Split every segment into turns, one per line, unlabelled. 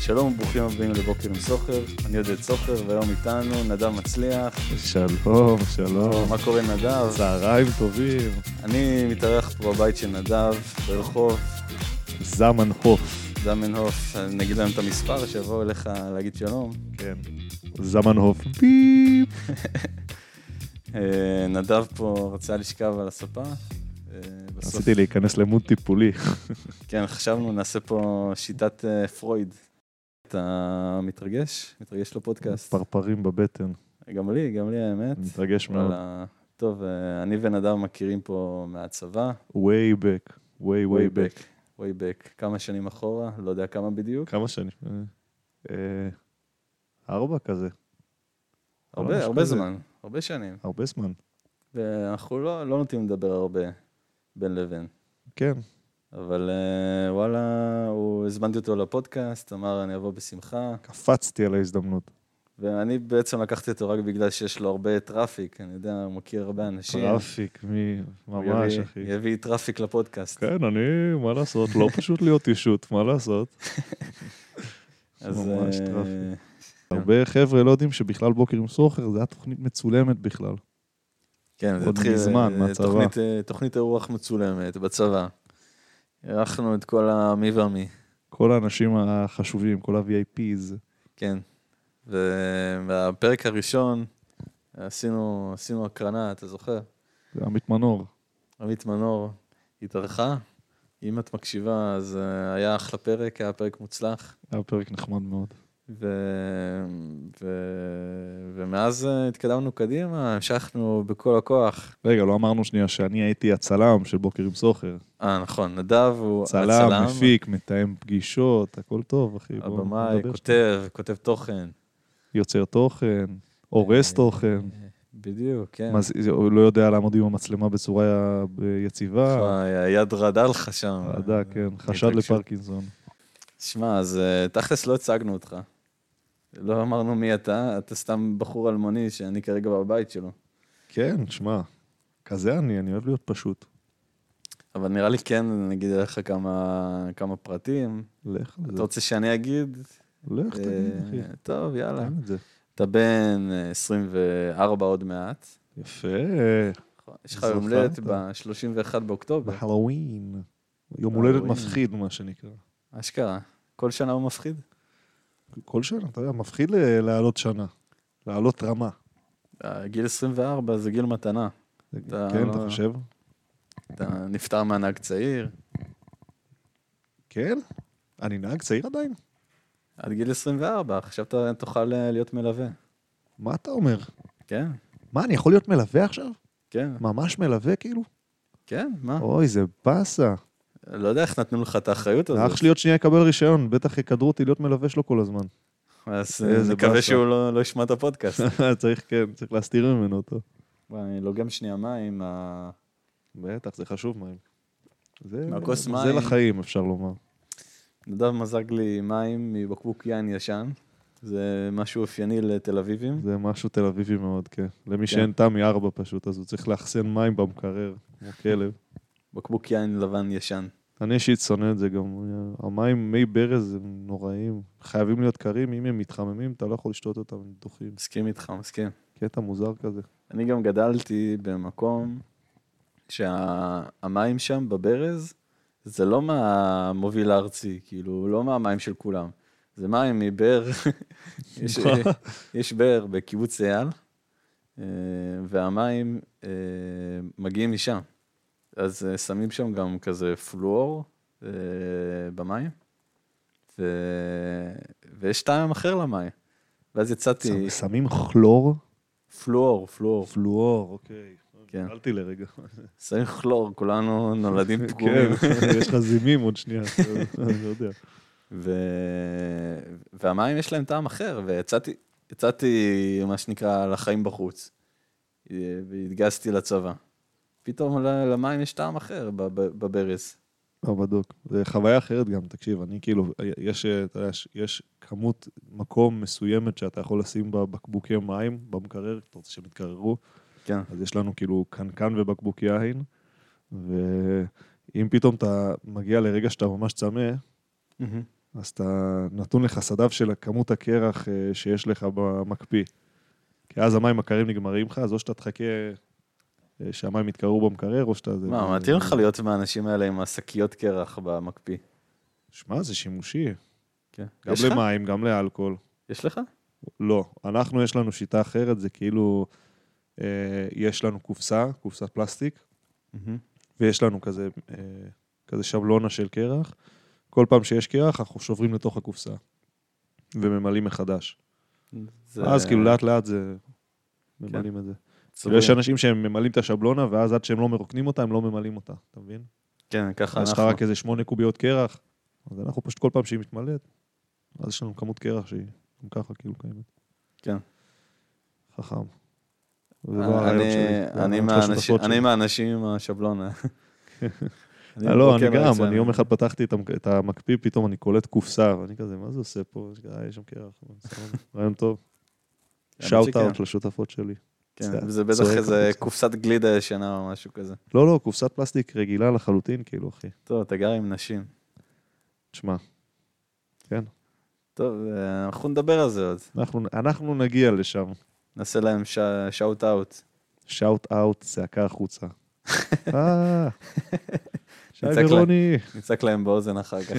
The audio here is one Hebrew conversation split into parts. שלום וברוכים הבאים לבוקר עם סוחר, אני עודד סוחר והיום איתנו נדב מצליח.
שלום, שלום.
מה קורה נדב?
צהריים טובים.
אני מתארח פה בבית של נדב, ברחוב,
זמנהוף.
זמנהוף, נגיד להם את המספר שיבואו אליך להגיד שלום.
כן. זמנהוף. ביפ.
אה, נדב פה רצה לשכב על הספה. אה, בסוף-
רציתי להיכנס למוד טיפולי.
כן, חשבנו, נעשה פה שיטת אה, פרויד. אתה מתרגש? מתרגש לפודקאסט?
פרפרים בבטן.
גם לי, גם לי האמת.
אני מתרגש מאוד.
וואלה. טוב, אה, אני ונדב מכירים פה מהצבא.
way back. way way back.
way back. כמה שנים אחורה, לא יודע כמה בדיוק.
כמה שנים? אה, אה, ארבע כזה.
הרבה,
ממש
הרבה
כזה.
זמן, הרבה שנים.
הרבה זמן.
ואנחנו לא, לא נוטים לדבר הרבה בין לבין.
כן.
אבל אה, וואלה, הוא, הזמנתי אותו לפודקאסט, אמר אני אבוא בשמחה,
קפצתי על ההזדמנות.
ואני בעצם לקחתי אותו רק בגלל שיש לו הרבה טראפיק, אני יודע, הוא מכיר הרבה אנשים.
טראפיק, מי...
הוא
ממש,
יביא-
אחי.
יביא טראפיק לפודקאסט.
כן, אני, מה לעשות, לא פשוט להיות אישות, מה לעשות?
אז
ממש
אה,
טראפיק. הרבה חבר'ה לא יודעים שבכלל בוקר עם סוחר, זו הייתה תוכנית מצולמת בכלל.
כן, זה
עוד
התחיל...
מזמן,
אה,
מהצבא.
תוכנית, אה, תוכנית אירוח מצולמת בצבא. אירחנו את כל המי והמי,
כל האנשים החשובים, כל ה-VIPs.
כן. ובפרק הראשון עשינו, עשינו הקרנה, אתה זוכר?
זה עמית מנור.
עמית מנור התארחה. אם את מקשיבה, אז אה, היה אחלה פרק, היה פרק מוצלח.
היה פרק נחמד מאוד.
ו... ו... ומאז אה, התקדמנו קדימה, המשכנו בכל הכוח.
רגע, לא אמרנו שנייה שאני הייתי הצלם של בוקר עם סוחר.
אה, נכון, נדב הוא
צלם, מפיק, מתאם פגישות, הכל טוב, אחי. בוא,
הבמאי,
נדבר שנייה.
כותב, כותב תוכן.
יוצר תוכן, הורס
אה,
תוכן,
בדיוק, כן.
מז- הוא לא יודע לעמוד עם המצלמה בצורה יציבה.
וואי, היד רעדה לך שם.
ועדה, כן, חשד
התרגשות.
לפרקינסון.
שמע, אז אה, תכלס לא הצגנו אותך. לא אמרנו מי אתה, אתה סתם בחור אלמוני שאני כרגע בבית שלו.
כן, שמע, כזה אני, אני אוהב להיות פשוט.
אבל נראה לי כן, נגיד לך כמה, כמה פרטים.
לך על
אתה
זה.
רוצה שאני אגיד?
לך תגיד,
אה,
אחי.
טוב, יאללה.
תן את זה.
אתה בן אה, 24 עוד מעט.
אה,
נכון,
יפה.
יש לך
זוכר
יום הולדת
אתה.
ב-31 באוקטובר,
בהלואוין.
בהלואוין.
יום הולדת מפחיד, מה שנקרא.
אשכרה. כל שנה הוא מפחיד?
כל שנה, אתה יודע, מפחיד ל- לעלות שנה. לעלות רמה.
אה, גיל 24 זה גיל מתנה. אתה
כן,
לא-
אתה חושב?
אתה נפטר מהנהג צעיר,
כן? אני נהג צעיר עדיין?
עד גיל 24, עכשיו אתה תוכל אה, להיות מלווה.
מה אתה אומר?
כן,
מה, אני יכול להיות מלווה עכשיו?
כן,
ממש מלווה, כאילו?
כן, מה?
אוי, זה באסה.
לא יודע איך נתנו לך את האחריות הזאת.
האח אוקיי. שלי עוד שנייה יקבל רישיון, בטח יקדרו אותי להיות מלווה שלו כל הזמן.
אז
אה,
אה,
זה
נקווה
באסה.
שהוא לא לא ישמע את הפודקאסט.
צריך, כן, צריך להסתיר ממנו אותו.
וואי, אני לוגם שנייה מים, ה-
בטח, זה חשוב מים. זה
מהכוס
זה
מים.
לחיים, אפשר לומר.
נדב מזג לי מים מבקבוק יין ישן. זה משהו אופייני לתל אביבים.
זה משהו תל אביבי מאוד, כן. למי
כן.
שאין טעם ארבע פשוט, אז הוא צריך לאחסן מים במקרר, כמו כלב.
בקבוק יין לבן ישן.
אני אישית שונא את זה גם. המים, מי ברז הם נוראים. חייבים להיות קרים, אם הם מתחממים, אתה לא יכול לשתות אותם, הם דוחים.
מסכים איתך, מסכים.
קטע מוזר כזה.
אני גם גדלתי במקום שהמים שם בברז, זה לא מהמוביל הארצי, כאילו, לא מהמים של כולם. זה מים מבאר, יש, אה,
מה?
יש באר בקיבוץ אייל, אה, והמים אה, מגיעים משם. אז אה, שמים שם גם כזה פלואור אה, במים, ו... ויש טעם אחר למים. ואז יצאתי,
שם- שמים כלור?
פלואור, פלואור.
פלואור, אוקיי.
כן.
נבהלתי לרגע.
שמים כלור, כולנו נולדים פגומים.
כן, יש לך זימים עוד שנייה, אני לא יודע.
ו... והמים יש להם טעם אחר, ויצאתי, יצאתי, מה שנקרא, לחיים בחוץ. אה, והתגייסתי לצבא. פתאום ל- למים יש טעם אחר בב- בברז.
לא, בדוק. זה חוויה אחרת גם, תקשיב, אני כאילו, יש, אה, אתה יודע, ש- יש כמות מקום מסוימת שאתה יכול לשים בה בקבוקי מים במקרר, אתה רוצה שהם יתקררו,
כן.
אז יש לנו כאילו קנקן ובקבוק יין, ואם פתאום אתה מגיע לרגע שאתה ממש צמא, אז אתה נתון לך סדף של כמות הקרח אה, שיש לך במקפיא. כי אז המים הקרים נגמרים לך, אז או שאתה תחכה אה, שהמים יתקררו במקרר, או שאתה...
מה, מתאים לך להיות מהאנשים האלה עם השקיות קרח במקפיא.
שמע, זה שימושי.
כן.
גם
יש לך?
למים, גם לאלכוהול.
יש לך?
לא, אנחנו יש לנו שיטה אחרת, זה כאילו, אה, יש לנו קופסה, קופסת פלסטיק, ויש לנו כזה, אה, כזה שבלונה של קרח. כל פעם שיש קרח, אנחנו שוברים לתוך הקופסה וממלאים מחדש.
זה-
זה... אז כאילו לאט לאט זה... ממלאים את זה.
צבועים.
כאילו יש אנשים שהם ממלאים את השבלונה, ואז עד שהם לא מרוקנים אותה, הם לא ממלאים אותה, אתה מבין?
כן, ככה
יש לך
אנחנו.
רק איזה שמונה קוביות קרח, אז אנחנו פשוט כל פעם שהיא מתמלאת, אז יש לנו כמות קרח שהיא גם ככה כאילו קיימת.
כן. אה,
חכם. זה לא הרעיון
אני-
שלי, זה
אני
הרעיון
מהאנשים-
השותפות
אני
שלי.
מהאנשים עם השבלונה.
אה, לא, אני
בבוקר
גם,
יוצא,
אני יום אחד פתחתי את המק- את המקפיא, פתאום אני קולט קופסה, ואני כזה, מה זה עושה פה? יש- אה, יש שם קרח, אבל סבבה, רעיון טוב.
האמת
שאוט
שכן.
אאוט לשותפות שלי.
כן,
צועק-
זה בטח
צועק
איזה
החוצה.
קופסת גלידה ישנה או משהו כזה.
לא, לא, קופסת פלסטיק רגילה לחלוטין, כאילו, אחי.
טוב, אתה גר עם נשים.
תשמע,
טוב, אה, אנחנו נדבר על זה עוד.
אנחנו- אנחנו נגיע לשם.
נעשה להם שאוט אאוט.
שאוט אאוט, צעקה החוצה. אה, שי
נצעק להם.
ורוני,
נצעק להם באוזן אחר כך.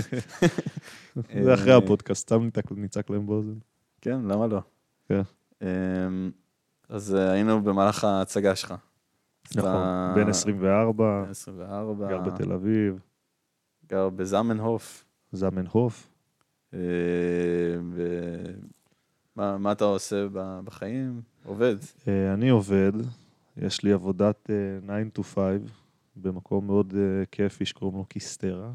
זה אחרי
אה,
הפודקאסט, סתם נצעק- נצעק להם באוזן.
כן, למה לא?
כן.
אמ, אז אה, היינו במהלך ההצגה שלך. אז
נכון,
אתה-
בן 24,
בן 24,
אה. גר בתל אביב,
גר בזמנהוף.
זמנהוף.
אה, ו- מה מה אתה עושה ב- בחיים? עובד.
אה, אני עובד, יש לי עבודת אה, 9 to 5 במקום מאוד אה, כיפי שקוראים לו קיסטרה,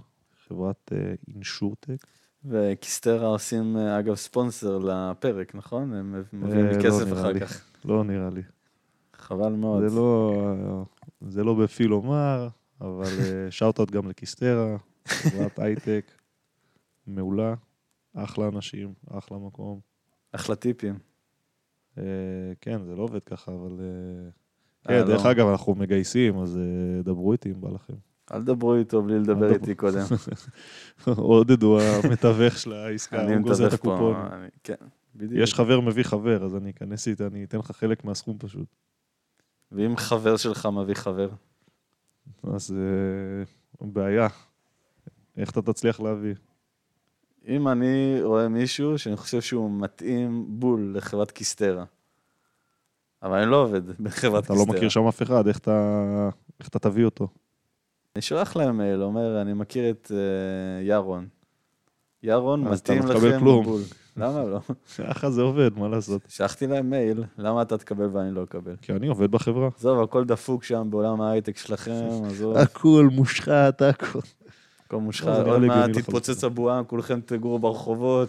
חברת אה, אינשורטק.
וקיסטרה עושים, אה, אגב, ספונסר לפרק, נכון? הם מביאים
אה,
לי
לא
כסף
נראה
אחר
לי.
כך.
לא נראה לי.
חבל מאוד.
זה לא, זה לא בפי לומר, אבל שאוט-אוט גם לקיסטרה, חברת הייטק, מעולה, אחלה אנשים, אחלה מקום.
אחלה טיפים.
אה, כן, זה לא עובד ככה, אבל... אה,
אה,
כן, דרך
לא.
אגב, אנחנו מגייסים, אז אה, דברו איתי אם בא לכם.
אל תדברו איתו בלי
אל
לדבר
תדברו.
איתי קודם.
עודד הוא המתווך של העסקה,
אני
כן, הוא גוזר את
מתווך פה.
הקופון.
אני- כן, בדיוק.
יש חבר מביא חבר, אז אני אכנס איתה, אני אתן לך חלק מהסכום פשוט.
ואם חבר שלך מביא חבר?
אז אה, בעיה. איך אתה תצליח להביא?
אם אני רואה מישהו שאני חושב שהוא מתאים בול לחברת קיסטרה, אבל אני לא עובד בחברת
אתה
קיסטרה.
לא מכיר שם אף אחד, איך אתה, איך אתה תביא אותו?
אני שולח להם מייל, אומר, אני מכיר את אה, ירון. ירון
אז אתה לא
מתאים
תקבל
לכם
כלום.
בול. למה לא?
ככה זה עובד, מה לעשות?
שלחתי להם מייל, למה אתה תקבל ואני לא אקבל?
כי אני עובד בחברה.
עזוב, הכל דפוק שם בעולם ההייטק שלכם, עזוב,
הכל מושחת, הכל.
הכל מושחת,
לא, זה נראה
עוד
לי
מעט
הגיוני
תתפוצץ
לחלוטין.
הבועה, כולכם תגורו ברחובות.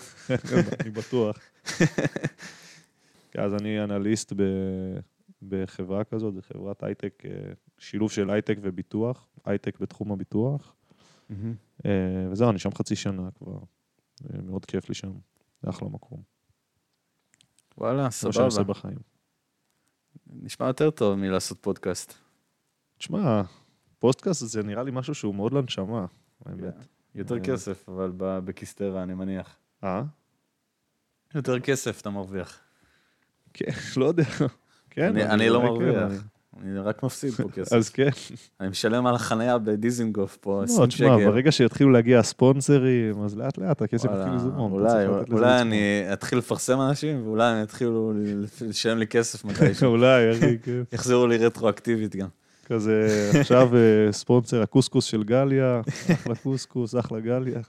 אני בטוח. אז אני אנליסט ב, בחברה כזאת, זו חברת הייטק, אה, שילוב של הייטק וביטוח, הייטק בתחום הביטוח. אה, וזהו, אני שם חצי שנה כבר. אה, מאוד כיף לי שם, זה אחלה מקום.
וואלה,
זה מה שאני עושה
סבבה.
בחיים.
נשמע יותר טוב מלעשות פודקאסט.
תשמע, פוסטקאסט זה נראה לי משהו שהוא מאוד לנשמה, האמת.
יותר
אה.
כסף, אבל ב- בקיסטרה, אני מניח.
אה?
יותר כסף אתה מרוויח.
לא יודע. כן.
אני- אני לא
אולי
מרוויח.
כן, אני-
אני רק מפסיד פה כסף. לא,
אז כן.
אני משלם על החנייה בדיזינגוף פה,
לא,
20
תשמע,
שקל.
ברגע שיתחילו להגיע הספונסרים, אז לאט לאט הכסף
וואלה,
יתחיל לזרום. אתה
אולי,
צריך לתת לזה
אולי
לצמוח.
אני אתחיל לפרסם אנשים, ואולי הם יתחילו ל- לשלם לי כסף מתישהו.
אולי, אחי, כן.
יחזרו לי רטרואקטיבית גם.
כזה, עכשיו אה, ספונסר הקוסקוס של גליה, אחלה קוסקוס, אחלה גליה.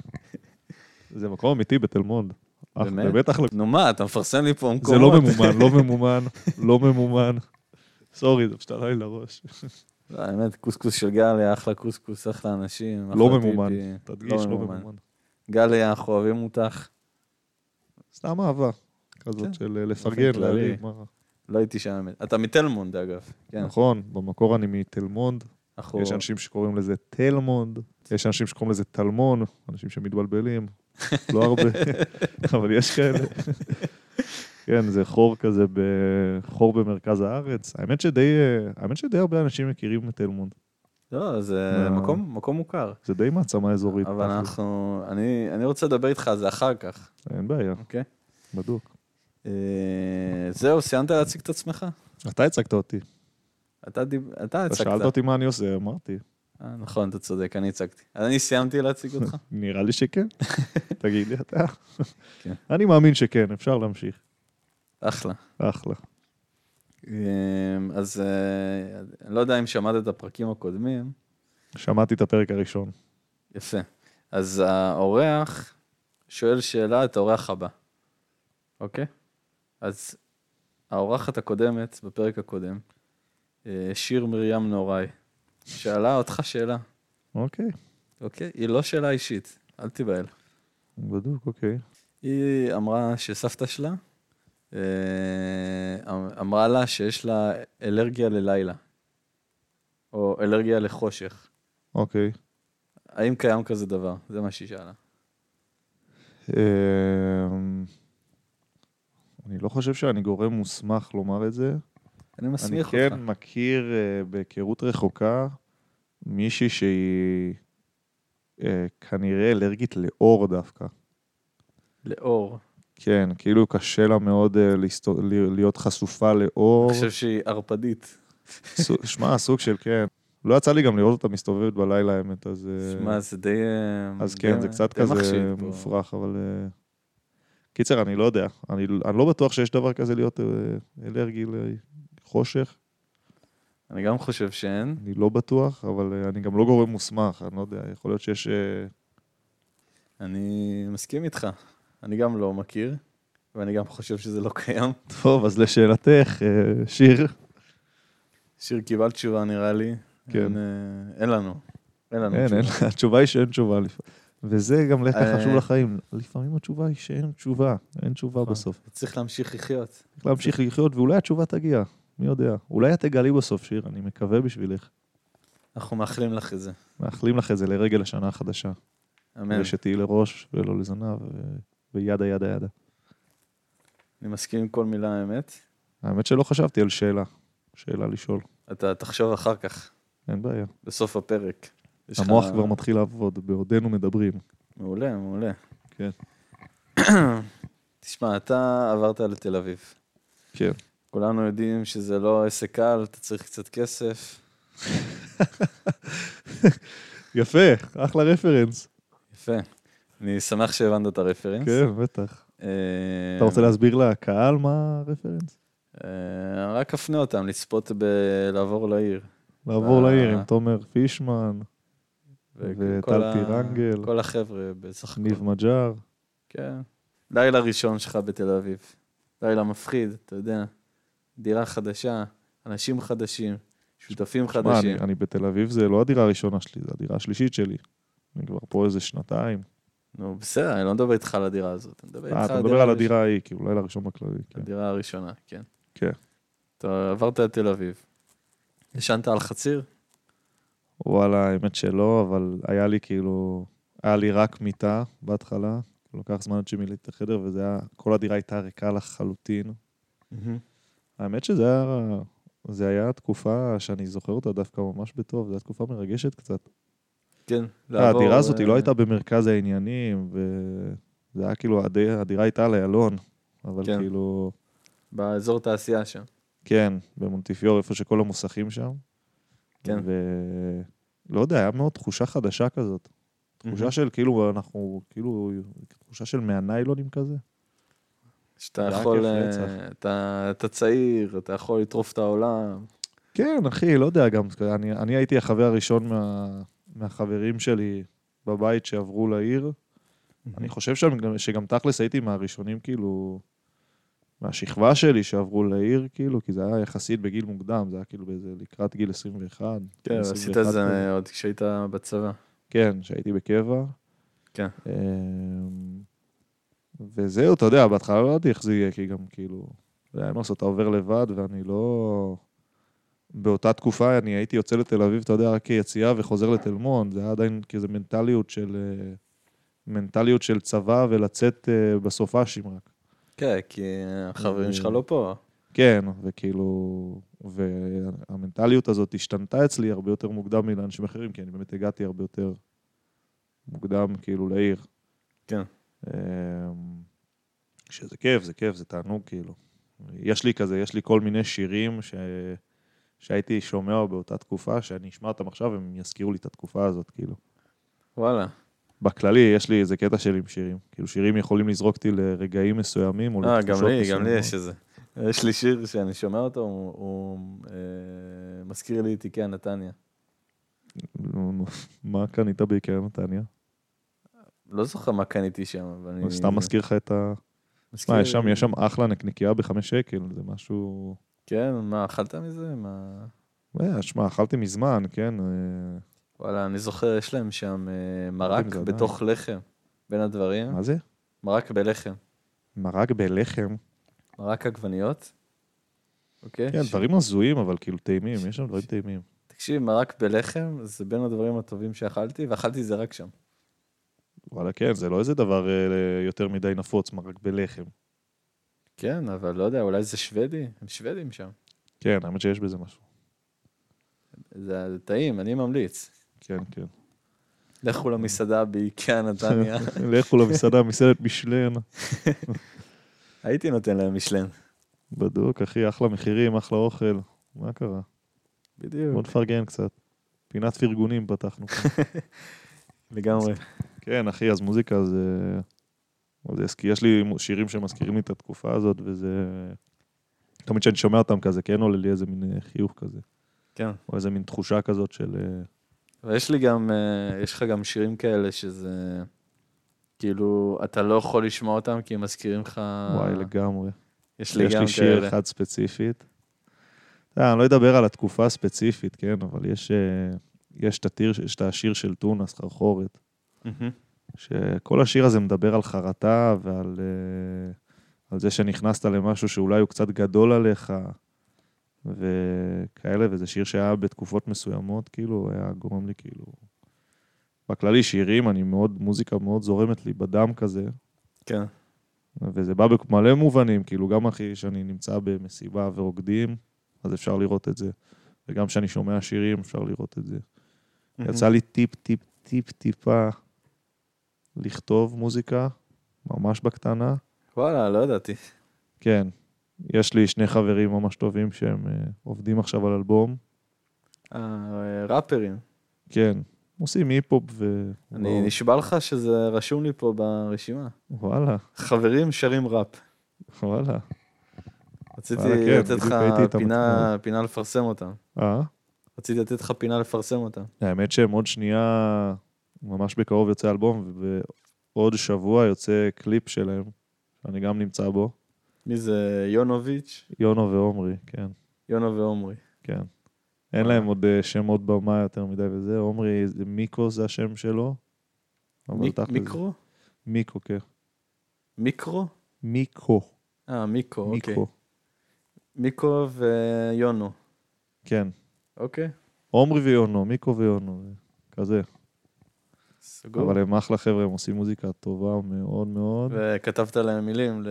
זה מקום אמיתי בתל מונד. אח-
באמת?
באמת אחלה.
נו מה, אתה מפרסם לי פה
זה
מקומות.
לא ממומן, לא ממומן, לא ממומן. סורי, זה פשוט עלה לי לראש.
לא, האמת, קוסקוס של גליה, אחלה קוסקוס, אחלה אנשים.
לא
אחלה
ממומן,
טיפי.
תדגיש, לא ממומן.
גליה, אנחנו אוהבים אותך.
סתם אהבה
כן.
כזאת של אה, לפרגן,
כללי.
להרים, מה-
לא הייתי שם, האמת. אתה מתלמונד, אגב. כן. נכון.
נכון, במקור אני מתל מונד,
אנחנו...
יש אנשים שקוראים לזה תלמונד, יש אנשים שקוראים לזה טלמון, אנשים שמתבלבלים, לא הרבה, אבל יש כאלה. כן, זה חור כזה, ב- חור במרכז הארץ. האמת שדי, אה, האמת שדי הרבה אנשים מכירים את תלמונד.
לא, זה
מה?
מקום, מקום מוכר.
זה די מעצמה אזורית.
אבל
תכל'ס.
אנחנו, אני, אני רוצה לדבר איתך על זה אחר כך,
אין בעיה,
אוקיי?
בדוק.
אה, זהו, סיימת להציג את עצמך?
אתה הצגת אותי.
אתה דיב- אתה
אתה
הצגת.
שאלת אותי מה אני עושה, אמרתי.
אה, נכון, אתה צודק, אני הצגתי. אז אני סיימתי להציג אותך?
נראה לי שכן. תגיד לי אתה.
כן.
אני מאמין שכן, אפשר להמשיך.
אחלה.
אחלה.
אמ, אז אה, אני לא יודע אם שמעת את הפרקים הקודמים.
שמעתי את הפרק הראשון.
יפה. אז האורח שואל שאלה את האורח הבא, אוקיי? אז האורחת הקודמת, בפרק הקודם, אה, שיר מרים נוראי, שאלה אותך שאלה,
אוקיי,
אוקיי? היא לא שאלה אישית, אל תיבהל.
בדוק, אוקיי.
היא אמרה שסבתא שלה אה, אמרה לה שיש לה אלרגיה ללילה, או אלרגיה לחושך.
אוקיי.
האם קיים כזה דבר? זה מה שהיא שאלה.
אמ, אני לא חושב שאני גורם מוסמך לומר את זה.
אני
אני
מסמיך אותך.
כן מכיר אה, בהיכרות רחוקה מישהי שהיא אה, כנראה אלרגית לאור דווקא.
לאור.
כן, כאילו קשה לה מאוד אה, להסתו- ל- להיות חשופה לאור.
אני חושב שהיא ערפדית.
סוג- שמע, סוג של כן. לא יצא לי גם לראות אותה מסתובבת בלילה, האמת, אז... אה,
שמע, זה די... אה,
אז
די-
כן, זה קצת
די מחשיד
כזה
פה.
מופרך, אבל... אה, קיצר, אני לא יודע. אני אני לא בטוח שיש דבר כזה להיות אה, אלרגי לחושך.
אני גם חושב שאין.
אני לא בטוח, אבל אה, אני גם לא גורם מוסמך, אני לא יודע, יכול להיות שיש... אה,
אני מסכים איתך. אני גם לא מכיר, ואני גם חושב שזה לא קיים.
טוב, אז לשאלתך, אה, שיר.
שיר, קיבלת תשובה, נראה לי.
כן.
אין, אה, אין לנו. אין לנו
אין,
תשובה.
אין, התשובה היא שאין תשובה. לפ- וזה גם לקח
אה.
חשוב לחיים. לפעמים התשובה היא שאין תשובה, אין תשובה
נכון.
בסוף.
צריך להמשיך לחיות.
צריך להמשיך לחיות, ואולי התשובה תגיע, מי יודע. אולי את תגלי בסוף שיר, אני מקווה בשבילך.
אנחנו מאחלים לך את זה.
מאחלים לך את זה לרגל השנה החדשה.
אמן.
אמן. ושתהיי לראש ולא לזנב, ו- וידה ידה ידה.
אני מסכים עם כל מילה האמת.
האמת שלא חשבתי על שאלה, שאלה לשאול,
אתה תחשוב אחר כך,
אין בעיה.
בסוף הפרק. יש לך-
המוח כבר מתחיל לעבוד, בעודנו מדברים.
מעולה, מעולה.
כן.
תשמע, אתה עברת לתל אביב.
כן.
כולנו יודעים שזה לא עסק קל, אתה צריך קצת כסף.
יפה, אחלה רפרנס.
יפה. אני שמח שהבנת את הרפרנס.
כן, בטח.
אה,
אתה רוצה להסביר לקהל מה הרפרנס?
אה, רק אפנה אותם לצפות בלעבור לעיר.
לעבור
אה.
לעיר עם תומר פישמן, וטל
וכל ה-
פירנגל.
כל החבר'ה בסך הכול.
ניב מג'אר.
כן. לילה ראשון שלך בתל אביב. לילה מפחיד, אתה יודע. דירה חדשה, אנשים חדשים, שותפים
מה,
חדשים.
אני, אני בתל אביב, זה לא הדירה הראשונה שלי, זו הדירה השלישית שלי. אני כבר פה איזה שנתיים.
נו, בסדר, אני לא מדבר איתך על הדירה הזאת, אני מדבר איתך
אה, אתה
על
מדבר על
הראשונה.
הדירה ההיא, כאילו, לילה ראשון בכללי. כן.
הדירה הראשונה, כן.
כן.
אתה עברת לתל אביב. ישנת על חציר?
וואלה, האמת שלא, אבל היה לי כאילו, היה לי רק מיטה בהתחלה, לקח זמן עד שמילאתי את החדר, וזה היה, כל הדירה הייתה ריקה לחלוטין. האמת שזה היה, זה היה תקופה שאני זוכר אותה דווקא ממש בטוב, זו הייתה תקופה מרגשת קצת.
כן. לעבור,
הדירה הזאת היא
אה,
לא הייתה במרכז העניינים, וזה היה כאילו, הדי- הדירה הייתה על איילון, אבל
כן.
כאילו,
באזור תעשייה שם.
כן, במונטיפיור, איפה שכל המוסכים שם.
כן.
ולא יודע, היה מאוד תחושה חדשה כזאת. תחושה של כאילו אנחנו, כאילו, תחושה של מהניילונים כזה.
שאתה
זה היה
יכול,
כיף
אה,
רצח.
אתה אתה צעיר, אתה יכול לטרוף את העולם.
כן, אחי, לא יודע, גם אני, אני הייתי החבר הראשון מה, מהחברים שלי בבית שעברו לעיר. אני חושב שגם, שגם תכלס הייתי מהראשונים, כאילו, מהשכבה שלי שעברו לעיר, כאילו, כי זה היה יחסית בגיל מוקדם, זה היה כאילו באיזה לקראת גיל 21.
כן, עשית
21
את זה
כזה.
עוד כשהיית בצבא.
כן, שהייתי בקבע.
כן.
אמ, וזהו, אתה יודע, בהתחלה לא ידעתי איך זה יהיה, כי גם כאילו, זה היה נוס, אתה עובר לבד, ואני לא... באותה תקופה אני הייתי יוצא לתל אביב, אתה יודע, רק כיציאה וחוזר לתל מונד, זה היה עדיין כאיזה מנטליות של... אה, מנטליות של צבא ולצאת אה, בסופ"שים רק.
כן, כי החברים שלך לא פה.
כן, וכאילו, והמנטליות הזאת השתנתה אצלי הרבה יותר מוקדם מלאנשים אחרים, כי אני באמת הגעתי הרבה יותר מוקדם, כאילו, לעיר.
כן.
אמ, שזה כיף, זה כיף, זה תענוג, כאילו. יש לי כזה, יש לי כל מיני שירים ש... שהייתי שומע באותה תקופה, שאני אשמע אותם עכשיו, הם יזכירו לי את התקופה הזאת, כאילו.
וואלה.
בכללי, יש לי איזה קטע שלי עם שירים. כאילו, שירים יכולים לזרוק אותי לרגעים מסוימים או
אה, גם לי, גם לי
מסוימות.
יש איזה. יש לי שיר שאני שומע אותו, הוא- הוא אה, מזכיר לי את איקאה נתניה.
נו, נו, מה קנית בעיקר נתניה?
לא זוכר מה קניתי שם, אבל אני...
אני סתם מזכיר לך את ה...
מזכיר
מה,
לי-
יש שם, יש שם אחלה נקניקייה בחמש שקל, זה משהו...
כן, מה, אכלת מזה? מה...
אה, שמע, אכלתי מזמן, כן? אה,
וואלה, אני זוכר, יש להם שם אה, מרק
עם זה עדיין.
בתוך לחם, בין הדברים.
מה זה?
מרק בלחם.
מרק בלחם.
מרק עגבניות. אוקיי?
כן,
ש-
דברים הזויים, אבל כאילו טעימים, יש שם דברים טעימים.
תקשיב, מרק בלחם זה בין הדברים הטובים שאכלתי, ואכלתי את זה רק שם.
וואלה, כן, זה לא איזה דבר אה, יותר מדי נפוץ, מרק בלחם.
כן, אבל לא יודע, אולי זה שוודי? הם שוודים שם.
כן, האמת שיש בזה משהו.
זה זה טעים, אני ממליץ.
כן, כן.
לכו למסעדה באיקאה נתניה.
לכו למסעדה, מסעדת משלן.
הייתי נותן להם משלן.
בדוק, אחי, אחלה מחירים, אחלה אוכל. מה קרה? בוא
בדיוק.
נפרגן קצת. פינת פרגונים פתחנו.
לגמרי.
כן, אחי, אז מוזיקה זה... זה כי יש לי שירים שמזכירים לי את התקופה הזאת, וזה... תמיד כשאני שומע אותם כזה, כן עולה לי איזה מין אה, חיוך כזה,
כן.
או איזה מין תחושה כזאת של... אה,
ויש לי גם, אה, יש לך גם שירים כאלה שזה, כאילו, אתה לא יכול לשמוע אותם כי הם מזכירים לך...
וואי, לגמרי.
אה, יש לי
יש
גם
לי שיר
כאלה.
אחד ספציפית. אה, אני לא אדבר על התקופה הספציפית, כן, אבל יש, אה, יש את התיר- יש את השיר של טונה, סחרחורת.
מהמם.
שכל השיר הזה מדבר על חרטה ועל אה, על זה שנכנסת למשהו שאולי הוא קצת גדול עליך וכאלה, וזה שיר שהיה בתקופות מסוימות, כאילו, היה גורם לי כאילו... בכללי שירים, אני מאוד, מוזיקה מאוד זורמת לי בדם כזה,
כן.
וזה בא במלא מובנים, כאילו, גם אחי, שאני נמצא במסיבה ורוקדים, אז אפשר לראות את זה. וגם כשאני שומע שירים, אפשר לראות את זה.
Mm-hmm.
יצא לי טיפ, טיפ, טיפ, טיפה לכתוב מוזיקה, ממש בקטנה.
וואלה, לא ידעתי.
כן, יש לי שני חברים ממש טובים שהם אה, עובדים עכשיו על אלבום.
אה, ראפרים.
כן, עושים היפ-הופ ו...
אני נשבע לך שזה רשום לי פה ברשימה.
וואלה,
חברים שרים ראפ.
וואלה.
רציתי
וואלה, כן,
לתת
בדיוק ראיתי
לך
את
פינה- פינה לפרסם אותם.
אה?
רציתי לתת לך פינה לפרסם אותם.
האמת שהם עוד שנייה, ממש בקרוב יוצא אלבום, ובעוד שבוע יוצא קליפ שלהם, שאני גם נמצא בו.
מי זה? יונוביץ',
יונו ועומרי, כן,
יונו ועומרי.
כן. אין להם עוד אה, שם עוד במה יותר מדי וזה. עומרי, זה מיקו זה השם שלו. אבל
מיק-
תכל'ס-
מיקרו?
מיקו, כן.
מיקרו?
מיקו.
אה, מיקרו, אוקיי.
מיקו.
מיקרו ויונו,
כן.
אוקיי.
עומרי ויונו, מיקו ויונו, זה כזה.
סגור.
אבל הם אחלה חבר'ה, הם עושים מוזיקה טובה מאוד מאוד.
וכתבת להם מילים ל...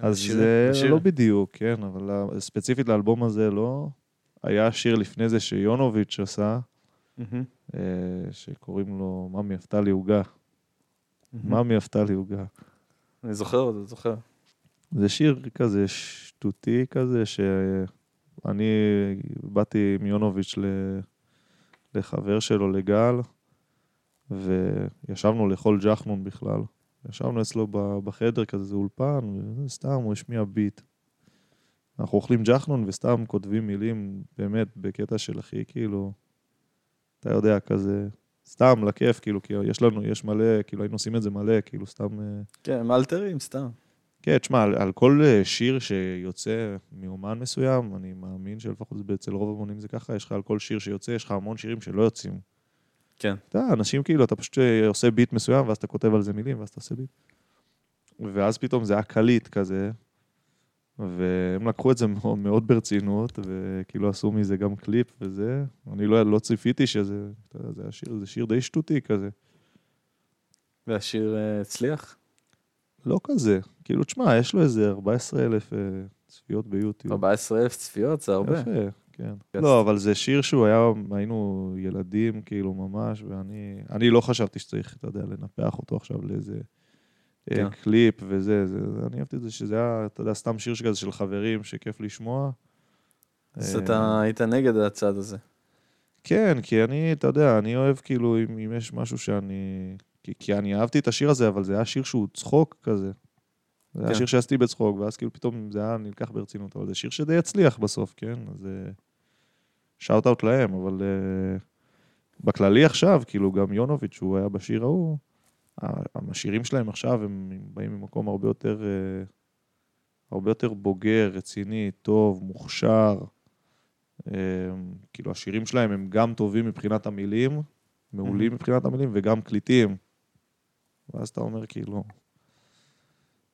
אז
לשיר-
זה
לשיר.
לא בדיוק, כן, אבל ה- ספציפית לאלבום הזה לא. היה שיר לפני זה שיונוביץ' עשה,
מהמם,
אה, שקוראים לו "ממי עפתה לי עוגה".
מהמם.
"ממי עפתה לי עוגה".
אני זוכר אותו, זוכר.
זה שיר כזה שטותי כזה, שאני באתי עם יונוביץ' ל- לחבר שלו, לגל, וישבנו לאכול ג'חנון בכלל. ישבנו אצלו ב- בחדר כזה, זה אולפן, וסתם הוא השמיע ביט. אנחנו אוכלים ג'חנון וסתם כותבים מילים, באמת, בקטע של הכי, כאילו, אתה יודע, כזה, סתם, לכיף, כאילו, כי יש לנו, יש מלא, כאילו, היינו עושים את זה מלא, כאילו, סתם... אה,
כן, מאלתרים, סתם.
כן, תשמע, על, על כל אה, שיר שיוצא מאומן מסוים, אני מאמין שלפחות זה- אצל רוב המונים זה ככה, יש לך על כל שיר שיוצא, יש לך המון שירים שלא יוצאים.
כן.
אתה יודע, אנשים כאילו, אתה פשוט אה, עושה ביט מסוים, ואז אתה כותב על זה מילים, ואז אתה עושה ביט. ואז פתאום זה היה קליט כזה, והם לקחו את זה מאוד, מאוד ברצינות, וכאילו עשו מזה גם קליפ וזה. אני לא, לא ציפיתי שזה, אתה יודע, זה היה שיר, זה שיר די שטותי כזה.
והשיר אה, הצליח?
לא כזה. כאילו, תשמע, יש לו איזה 14,000 אה, צפיות ביוטיוב.
14,000 צפיות זה הרבה.
יפה, כן.
כן.
לא, אבל זה שיר שהוא היה, היינו ילדים, כאילו, ממש, ואני אני לא חשבתי שצריך, אתה יודע, לנפח אותו עכשיו לאיזה אה,
כן.
קליפ וזה, זה, זה- אני אהבתי את זה, שזה היה, אתה יודע, סתם שיר שכזה של חברים, שכיף לשמוע.
אז
אה,
אתה היית נגד הצד הזה.
כן, כי אני, אתה יודע, אני אוהב כאילו, אם, אם יש משהו שאני... כי, כי אני אהבתי את השיר הזה, אבל זה היה שיר שהוא צחוק כזה. זה היה
כן.
שיר שעשיתי בצחוק, ואז כאילו פתאום זה היה נלקח ברצינות, אבל זה שיר שדי הצליח בסוף, כן? אז שאוט אאוט להם, אבל אה, בכללי עכשיו, כאילו, גם יונוביץ', שהוא היה בשיר ההוא, ה- השירים שלהם עכשיו, הם באים ממקום הרבה יותר, אה, הרבה יותר בוגר, רציני, טוב, מוכשר. אמ, כאילו השירים שלהם הם גם טובים מבחינת המילים, מעולים מבחינת המילים וגם קליטים. ואז אתה אומר כאילו...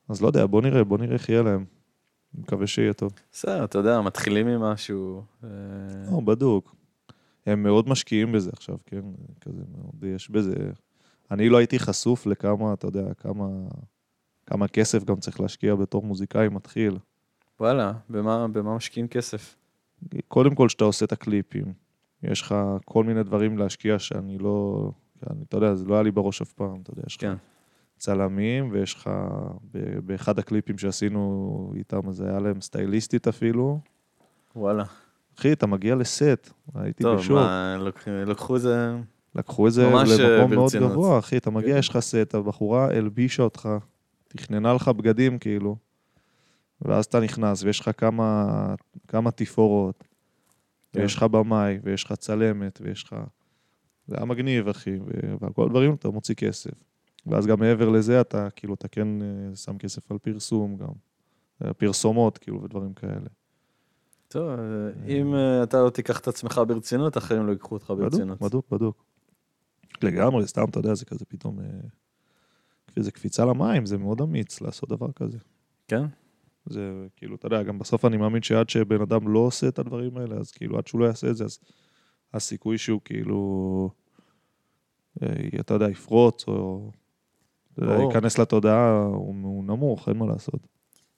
אז לא יודע, בוא נראה, בוא נראה איך יהיה להם. אני מקווה שיהיה טוב.
בסדר, אתה יודע, מתחילים ממשהו. אה,
לא, בדוק. הם מאוד משקיעים בזה עכשיו, כן? כזה מאוד, יש בזה... אני לא הייתי חשוף לכמה, אתה יודע, כמה, כמה כסף גם צריך להשקיע בתור מוזיקאי מתחיל.
וואלה, במה במה משקיעים כסף?
קודם כל, שאתה עושה את הקליפים, יש לך כל מיני דברים להשקיע שאני לא... אני, אתה יודע, זה לא היה לי בראש אף פעם, אתה יודע, יש לך
כן.
צלמים, ויש לך... ב- באחד הקליפים שעשינו איתם, אז היה להם סטייליסטית אפילו.
וואלה.
אחי, אתה מגיע לסט, הייתי
טוב,
בשוק.
מה, לוקחים- לקחו את זה...
לקחו את זה
ממש, אה,
למקום מאוד
ברצינות.
גבוה, אחי, אתה מגיע,
כן.
יש לך סט, הבחורה הלבישה אותך, תכננה לך בגדים, כאילו, ואז אתה נכנס, ויש לך כמה, כמה תפאורות,
כן.
ויש לך במאי, ויש לך צלמת, ויש לך... זה היה מגניב, אחי, ו- ועל כל הדברים אתה מוציא כסף. ואז גם מעבר לזה, אתה כאילו, אתה כן אה, שם כסף על פרסום גם. אה, פרסומות, כאילו, ודברים כאלה.
טוב, אה, אם אה, אתה לא תיקח את עצמך ברצינות, אחרים לא ייקחו אותך ברצינות.
בדוק, בדוק, בדוק. לגמרי, סתם, אתה יודע, זה כזה פתאום... אה, זה קפיצה למים, זה מאוד אמיץ לעשות דבר כזה.
כן?
זה כאילו, אתה יודע, גם בסוף אני מאמין שעד שבן אדם לא עושה את הדברים האלה, אז כאילו, עד שהוא לא יעשה את זה, אז הסיכוי שהוא כאילו, אה, אתה יודע, יפרוץ, או אתה יודע,
ברור.
ייכנס לתודעה, הוא הוא נמוך, אין מה לעשות.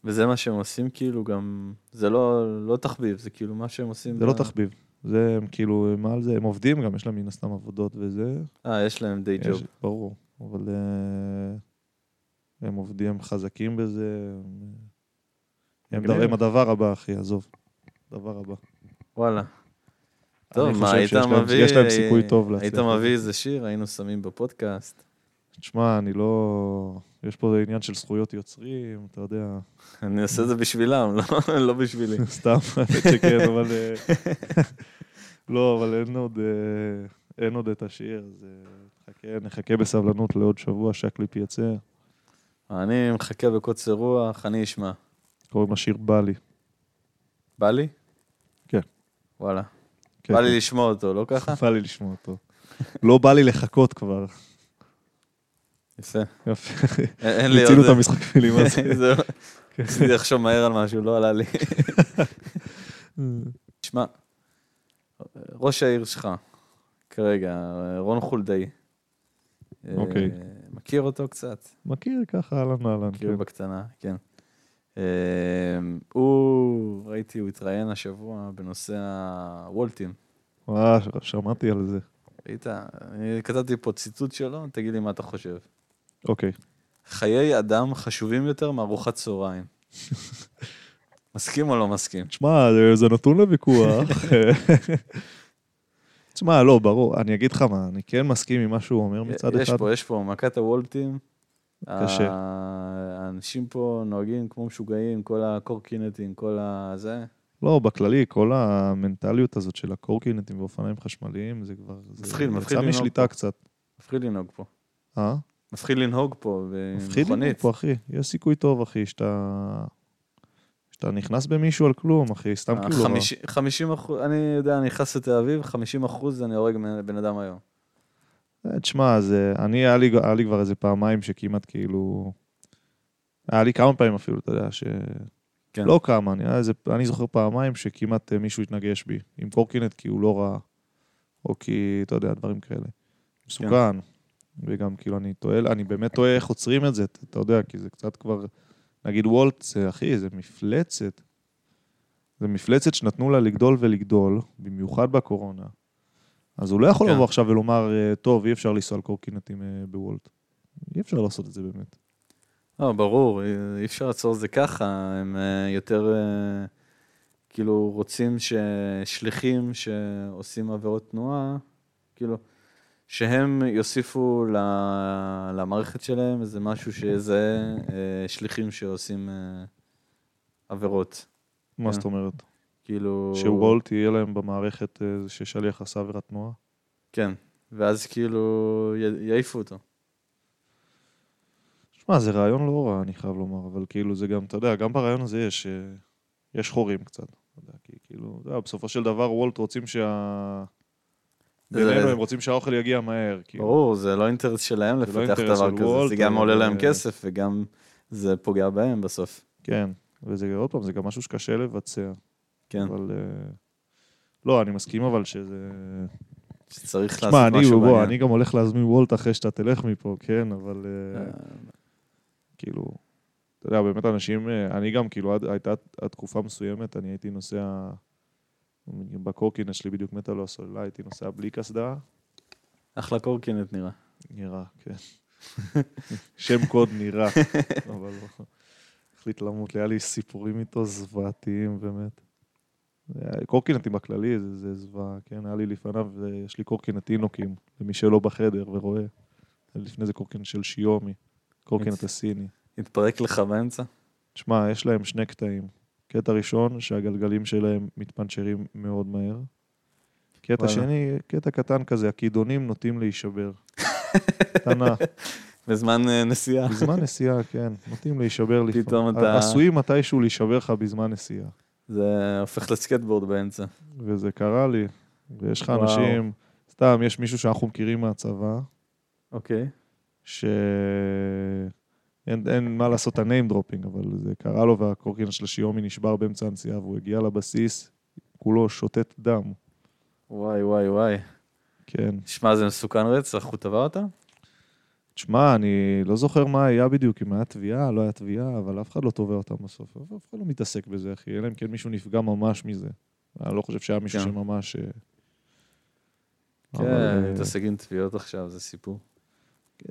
וזה מה שהם עושים כאילו גם, זה לא, לא תחביב, זה כאילו מה שהם עושים.
זה לא
ב-
תחביב. זה, הם כאילו, מה על זה? הם עובדים גם, יש להם מן הסתם עבודות וזה.
אה, יש להם די ג'וב.
יש, ברור, אבל אה, הם עובדים, הם חזקים בזה. הם- הם,
מגניב.
דבר, הם הדבר הבא, אחי, עזוב. דבר הבא.
וואלה.
אני
טוב, מה,
חושב
היית
שיש להם-
מביא...
יש להם סיכוי טוב
היית
להצליח בזה.
מביא איזה שיר, היינו שמים בפודקאסט.
תשמע, אני לא... יש פה עניין של זכויות יוצרים, אתה יודע.
אני עושה את זה בשבילם, לא- לא בשבילי.
סתם, האמת שכן, אבל... אה, לא, אבל אין עוד, אה, אין עוד את השיר, אז אה, נחכה, נחכה בסבלנות לעוד שבוע שהקליפ יצא.
אני מחכה בקוצר רוח, אני אשמע.
קוראים לשיר בא לי.
בא לי?
כן.
וואלה.
כן,
בא לי לשמוע אותו, לא ככה?
בא לי לשמוע אותו. לא בא לי לחכות כבר.
יפה.
יפה.
אין אין לי עוד...
מיצינו את המשחק מילים הזה.
זהו.
כן.
ניסיתי לחשוב מהר על משהו, לא עלה לי. תשמע, ראש העיר שלך, כרגע, רון חולדאי. אה,
אוקיי.
מכיר אותו קצת?
מכיר ככה, אהלן אהלן.
כאילו
כן.
בקטנה, כן. אה, הוא, ראיתי, הוא התראיין השבוע בנושא הוולטים.
וואי, כן. אה, שמעתי על זה.
ראית? אני כתבתי פה ציטוט שלו, תגיד לי מה אתה חושב.
אוקיי.
חיי אדם חשובים יותר מארוחת צהריים. מסכים או לא מסכים?
תשמע, אה, זה- זה נתון לוויכוח. תשמע, לא, ברור. אני אגיד לך מה, אני כן מסכים עם מה שהוא אומר מצד
יש
אחד.
פה, יש פה, מכת הוולטים.
קשה.
ה- האנשים פה נוהגים כמו משוגעים, כל הקורקינטים, כל הזה.
לא, בכללי, כל המנטליות הזאת של הקורקינטים ואופניים חשמליים, זה כבר... זה
מפחיד, מפחיד
יצא
לנהוג
משליטה קצת.
מפחיד לנהוג פה.
אה?
מפחיד לנהוג פה
מפחיד לי
במכונית.
פה, אחי. יש סיכוי טוב, אחי, שאתה... שאתה נכנס במישהו על כלום, אחי, סתם כאילו... מה.
50 אה, אחוז, אני יודע, אני נכנס לתל אביב, 50 אחוז אני הורג בן- בן אדם היום.
אה, תשמע, זה... אני, היה לי, היה לי כבר איזה פעמיים שכמעט כאילו... היה לי כמה פעמים אפילו, אתה יודע, ש...
כן.
כן. לא כמה, אני, היה איזה, אני זוכר פעמיים שכמעט אה, מישהו התנגש בי עם קורקינט כי הוא לא ראה, או כי, אתה יודע, דברים כאלה. מסוכן. וגם כאילו אני טועה, אני באמת טועה איך עוצרים את זה, אתה- אתה יודע, כי זה קצת כבר, נגיד וולט, זה, אחי, זה מפלצת. זה מפלצת שנתנו לה לגדול ולגדול, במיוחד בקורונה. אז הוא לא יכול
כן.
לבוא עכשיו ולומר, אה, טוב, אי אפשר לנסוע על קורקינטים אה, בוולט. אי אפשר לעשות את זה באמת.
לא, ברור, אי- אי אפשר לעצור את זה ככה, הם אה, יותר אה, כאילו רוצים ששליחים שעושים עבירות תנועה, כאילו, שהם יוסיפו ל- למערכת שלהם איזה משהו שיזהה אה, שליחים שעושים אה, עבירות.
מה זאת אומרת?
כאילו...
שוולט יהיה להם במערכת אה, ששליח עשה עבירת תנועה?
כן, ואז כאילו י- יעיפו אותו.
שמע, זה רעיון לא רע, אני חייב לומר, אבל כאילו זה גם, אתה יודע, גם ברעיון הזה יש, אה, יש חורים קצת. אתה יודע, כי כאילו, אתה יודע, בסופו של דבר וולט רוצים שה...
זה-
בינינו הם רוצים שהאוכל יגיע מהר. כאילו.
ברור, זה לא אינטרס שלהם
זה לא
לפתח
אינטרס
דבר
של
כזה,
וולט,
זה גם
אבל-
עולה להם כסף וגם זה פוגע בהם בסוף.
כן, וזה עוד פעם, זה גם משהו שקשה לבצע.
כן,
אבל... אה, לא, אני מסכים אבל שזה...
שצריך לעשות
שמע, אני,
משהו
בוא,
בעניין.
אני גם הולך להזמין וולט אחרי שאתה תלך מפה, כן, אבל... אה, כאילו, אתה יודע, באמת אנשים, אה, אני גם, כאילו, עד, הייתה עד תקופה מסוימת, אני הייתי נוסע, בקורקינט שלי בדיוק מתה לו הסוללה, הייתי נוסע בלי קסדה,
אחלה קורקינט נראה.
נראה, כן. שם קוד נראה, אבל לא. החליט למות, לי היה לי סיפורים איתו זוועתיים, באמת. אה, קורקינטים בכללי זה, זה זוועה, כן? היה לי לפניו, אה, יש לי קורקינט אינוקים, למי שלא בחדר ורואה. לפני זה קורקינט של שיומי, קורקינט הסיני.
התפרק לך באמצע?
תשמע, יש להם שני קטעים. קטע ראשון, שהגלגלים שלהם מתפנצ'רים מאוד מהר. קטע
וואלה.
שני, קטע קטן כזה, הכידונים נוטים להישבר. קטנה,
בזמן אה, נסיעה.
בזמן נסיעה, כן, נוטים להישבר לפעמים.
פתאום אתה-
עשויים מתישהו להישבר לך בזמן נסיעה.
זה הופך לסקטבורד באמצע.
וזה קרה לי, ויש לך
וואו.
אנשים, סתם, יש מישהו שאנחנו מכירים מהצבא,
אוקיי.
ש... אין, אין מה לעשות את הניים דרופינג, אבל זה קרה לו והקורקינט של שיומי נשבר באמצע הנסיעה והוא הגיע לבסיס, כולו שותת דם,
וואי, וואי, וואי.
כן.
שמע, זה מסוכן רצח, הוא תבע אותה?
תשמע, אני לא זוכר מה היה בדיוק, אם היה תביעה, לא היה תביעה, אבל אף אחד לא תובע אותם בסוף. אף אף אחד לא מתעסק בזה, אחי, אלא אם כן מישהו נפגע ממש מזה. אני לא חושב שהיה מישהו
כן.
שממש... אה, אבל,
כן,
אה,
מתעסק עם תביעות עכשיו, זה סיפור.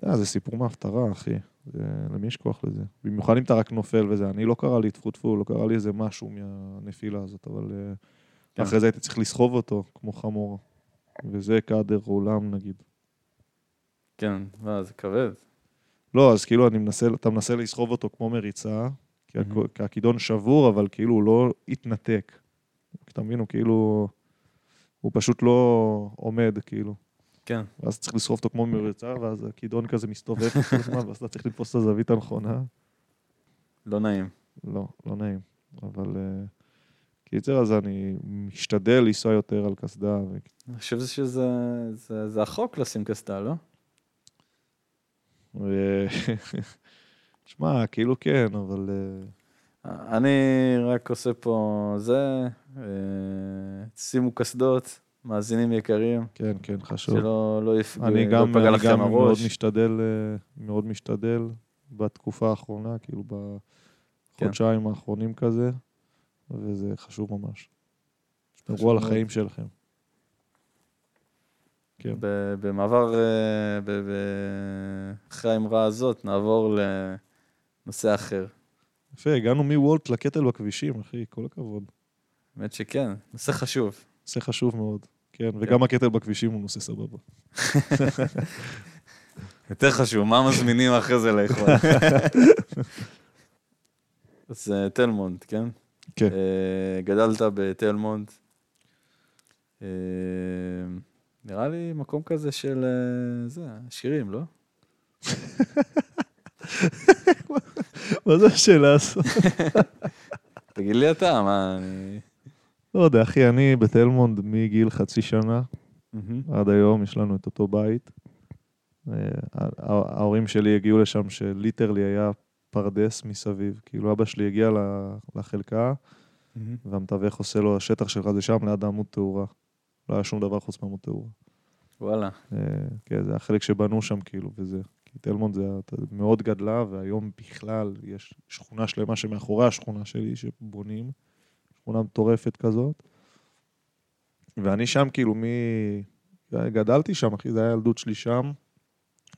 אה, זה סיפור מההפטרה, אחי. זה, למי יש כוח לזה? במיוחד אם אתה רק נופל וזה. אני לא קרה לי טפו טפו, לא קרה לי איזה משהו מהנפילה הזאת, אבל אה,
כן.
אחרי זה הייתי צריך לסחוב אותו כמו חמור. וזה קאדר עולם נגיד.
כן, מה, זה כבד.
לא, אז כאילו אני מנסה, אתה מנסה לסחוב אותו כמו מריצה, כי, הכ,
מהמם.
כי הכידון שבור, אבל כאילו הוא לא התנתק. אתה מבין, הוא כאילו... הוא פשוט לא עומד, כאילו.
כן.
ואז צריך לסחוב אותו כמו מריצה, ואז הכידון כזה מסתובב כל הזמן, ואז אתה צריך לתפוס את הזווית הנכונה.
לא נעים.
לא, לא נעים. אבל אה, קיצר, אז אני משתדל לנסוע יותר על קסדה. ו...
אני חושב שזה זה- זה החוק לשים קסדה, לא?
ו... אה, שמע, כאילו כן, אבל... אה,
אני רק עושה פה זה, אה, שימו קסדות, מאזינים יקרים,
כן, כן, חשוב.
שלא לא יפגעו,
אני
לא
גם,
יפגע
אני
לכם
גם מאוד
הראש.
משתדל, אה, מאוד משתדל בתקופה האחרונה, כאילו
כן.
בחודשיים האחרונים כזה, וזה חשוב ממש.
חשוב
תשמרו על
מאוד.
החיים שלכם. כן.
ב- במעבר, אה, ב- ב- אחרי האמרה הזאת, נעבור לנושא אחר.
יפה, הגענו מוולט לקטל בכבישים, אחי, כל הכבוד.
האמת שכן, נושא חשוב.
נושא חשוב מאוד. כן, וגם הקטל בכבישים הוא נושא סבבה.
יותר חשוב, מה מזמינים אחרי זה לאכול? אז אה, תלמונד, כן?
כן.
אה, גדלת בתלמונד. אה, נראה לי מקום כזה של, אה, זה, שירים, לא?
מה זה השאלה הזאת?
תגיד לי אתה, מה, אני...
לא יודע, אחי, אני בתלמונד מגיל חצי שנה
מהמם.
עד היום, יש לנו את אותו בית. אה, הה- ההורים שלי הגיעו לשם שליטרלי היה פרדס מסביב. כאילו, אבא שלי הגיע ל- לחלקה, והמתווך עושה לו, השטח שלך זה שם ליד העמוד תאורה. לא היה שום דבר חוץ מעמוד תאורה.
וואלה.
אה, כן, זה החלק שבנו שם, כאילו, וזה... כי תלמונד זה אתה- זה מאוד גדלה, והיום בכלל יש שכונה שלמה שמאחורי השכונה שלי, שבונים, שכונה מטורפת כזאת. ואני שם, כאילו, מ... אה, גדלתי שם, אחי, זה היה ילדות שלי שם,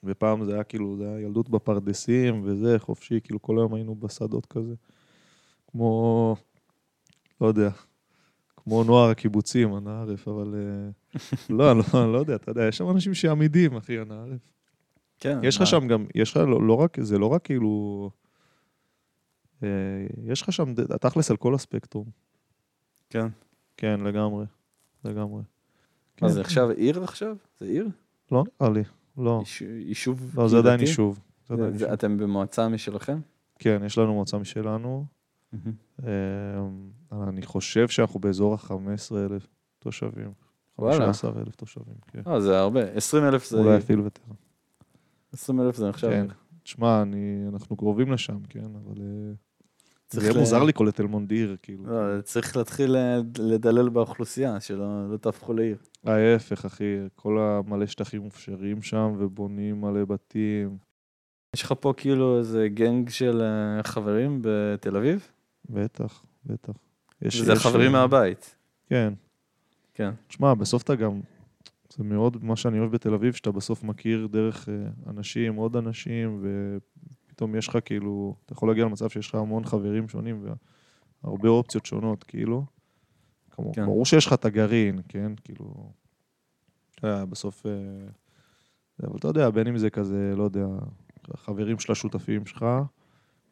ופעם זה היה כאילו, זה היה ילדות בפרדסים וזה, חופשי, כאילו, כל היום היינו בשדות כזה. כמו, לא יודע, כמו נוער הקיבוצים, הנערף, אבל... אה, לא, אני לא, אני לא יודע, אתה יודע, יש שם אנשים שעמידים, אחי, הנערף.
כן.
יש
מה?
לך שם גם, יש לך לא, לא רק, זה לא רק כאילו... אה, יש לך שם ד- תכלס על כל הספקטרום.
כן.
כן, לגמרי. לגמרי.
מה
כן.
זה עכשיו עיר עכשיו? זה עיר?
לא נראה לי, לא.
ייש- יישוב
לא, זה עדיין
קהילתי?
יישוב. זה עדיין
זה-
יישוב.
אתם במועצה משלכם?
כן, יש לנו מועצה משלנו. אה, אני חושב שאנחנו באזור ה-15,000 תושבים.
וואלה. אה,
15,000 תושבים, כן.
לא, זה הרבה. 20 אלף זה...
אולי אפילו יותר.
20 אלף זה נחשב.
כן. תשמע, אני- אנחנו קרובים לשם, כן, אבל... אה, זה
צריך
יהיה
ל-
מוזר לקרוא לתל מונדיר, כאילו.
לא, צריך להתחיל אה, לדלל באוכלוסייה, שלא לא תהפכו לעיר.
ההפך, אחי, כל המלא שטחים מופשרים שם, ובונים מלא בתים.
יש לך פה כאילו איזה גנג של אה, חברים בתל אביב?
בטח, בטח. יש-
וזה
יש-
חברים מהבית.
כן.
כן.
תשמע, בסוף אתה גם... זה מאוד מה שאני אוהב בתל אביב, שאתה בסוף מכיר דרך אה, אנשים, עוד אנשים, ופתאום יש לך כאילו... אתה יכול להגיע למצב שיש לך המון חברים שונים והרבה אופציות שונות, כאילו. כמו,
כן.
כן. ברור שיש לך את הגרעין, כן? כאילו... אתה יודע, בסוף... אה, זה, אבל אתה יודע, בין אם זה כזה, לא יודע, חברים של השותפים שלך,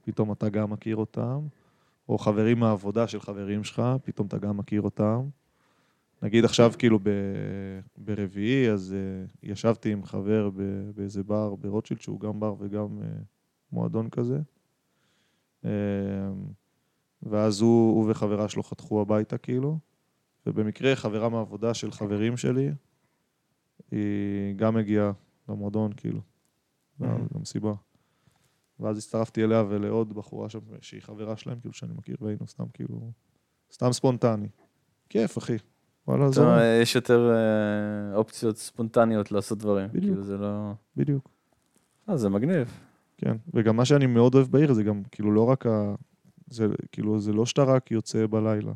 פתאום אתה גם מכיר אותם, או חברים מהעבודה של חברים שלך, פתאום אתה גם מכיר אותם. נגיד עכשיו, כאילו, ב... ברביעי, אז uh, ישבתי עם חבר ב... באיזה בר ברוטשילד, שהוא גם בר וגם uh, מועדון כזה. Uh, ואז הוא, הוא וחברה שלו חתכו הביתה, כאילו. ובמקרה, חברה מהעבודה של חברים שלי, היא גם הגיעה למועדון, כאילו.
Mhm.
למסיבה. ואז הצטרפתי אליה ולעוד בחורה שם, שהיא חברה שלהם, כאילו, שאני מכיר, והיינו סתם, כאילו... סתם ספונטני. כיף, אחי. וואלה,
זאת
זה...
אומרת, יש יותר אה, אופציות ספונטניות לעשות דברים.
בדיוק.
כאילו זה לא...
בדיוק.
אה, זה מגניב.
כן, וגם מה שאני מאוד אוהב בעיר זה גם, כאילו, לא רק ה... זה, כאילו, זה לא שאתה רק יוצא בלילה.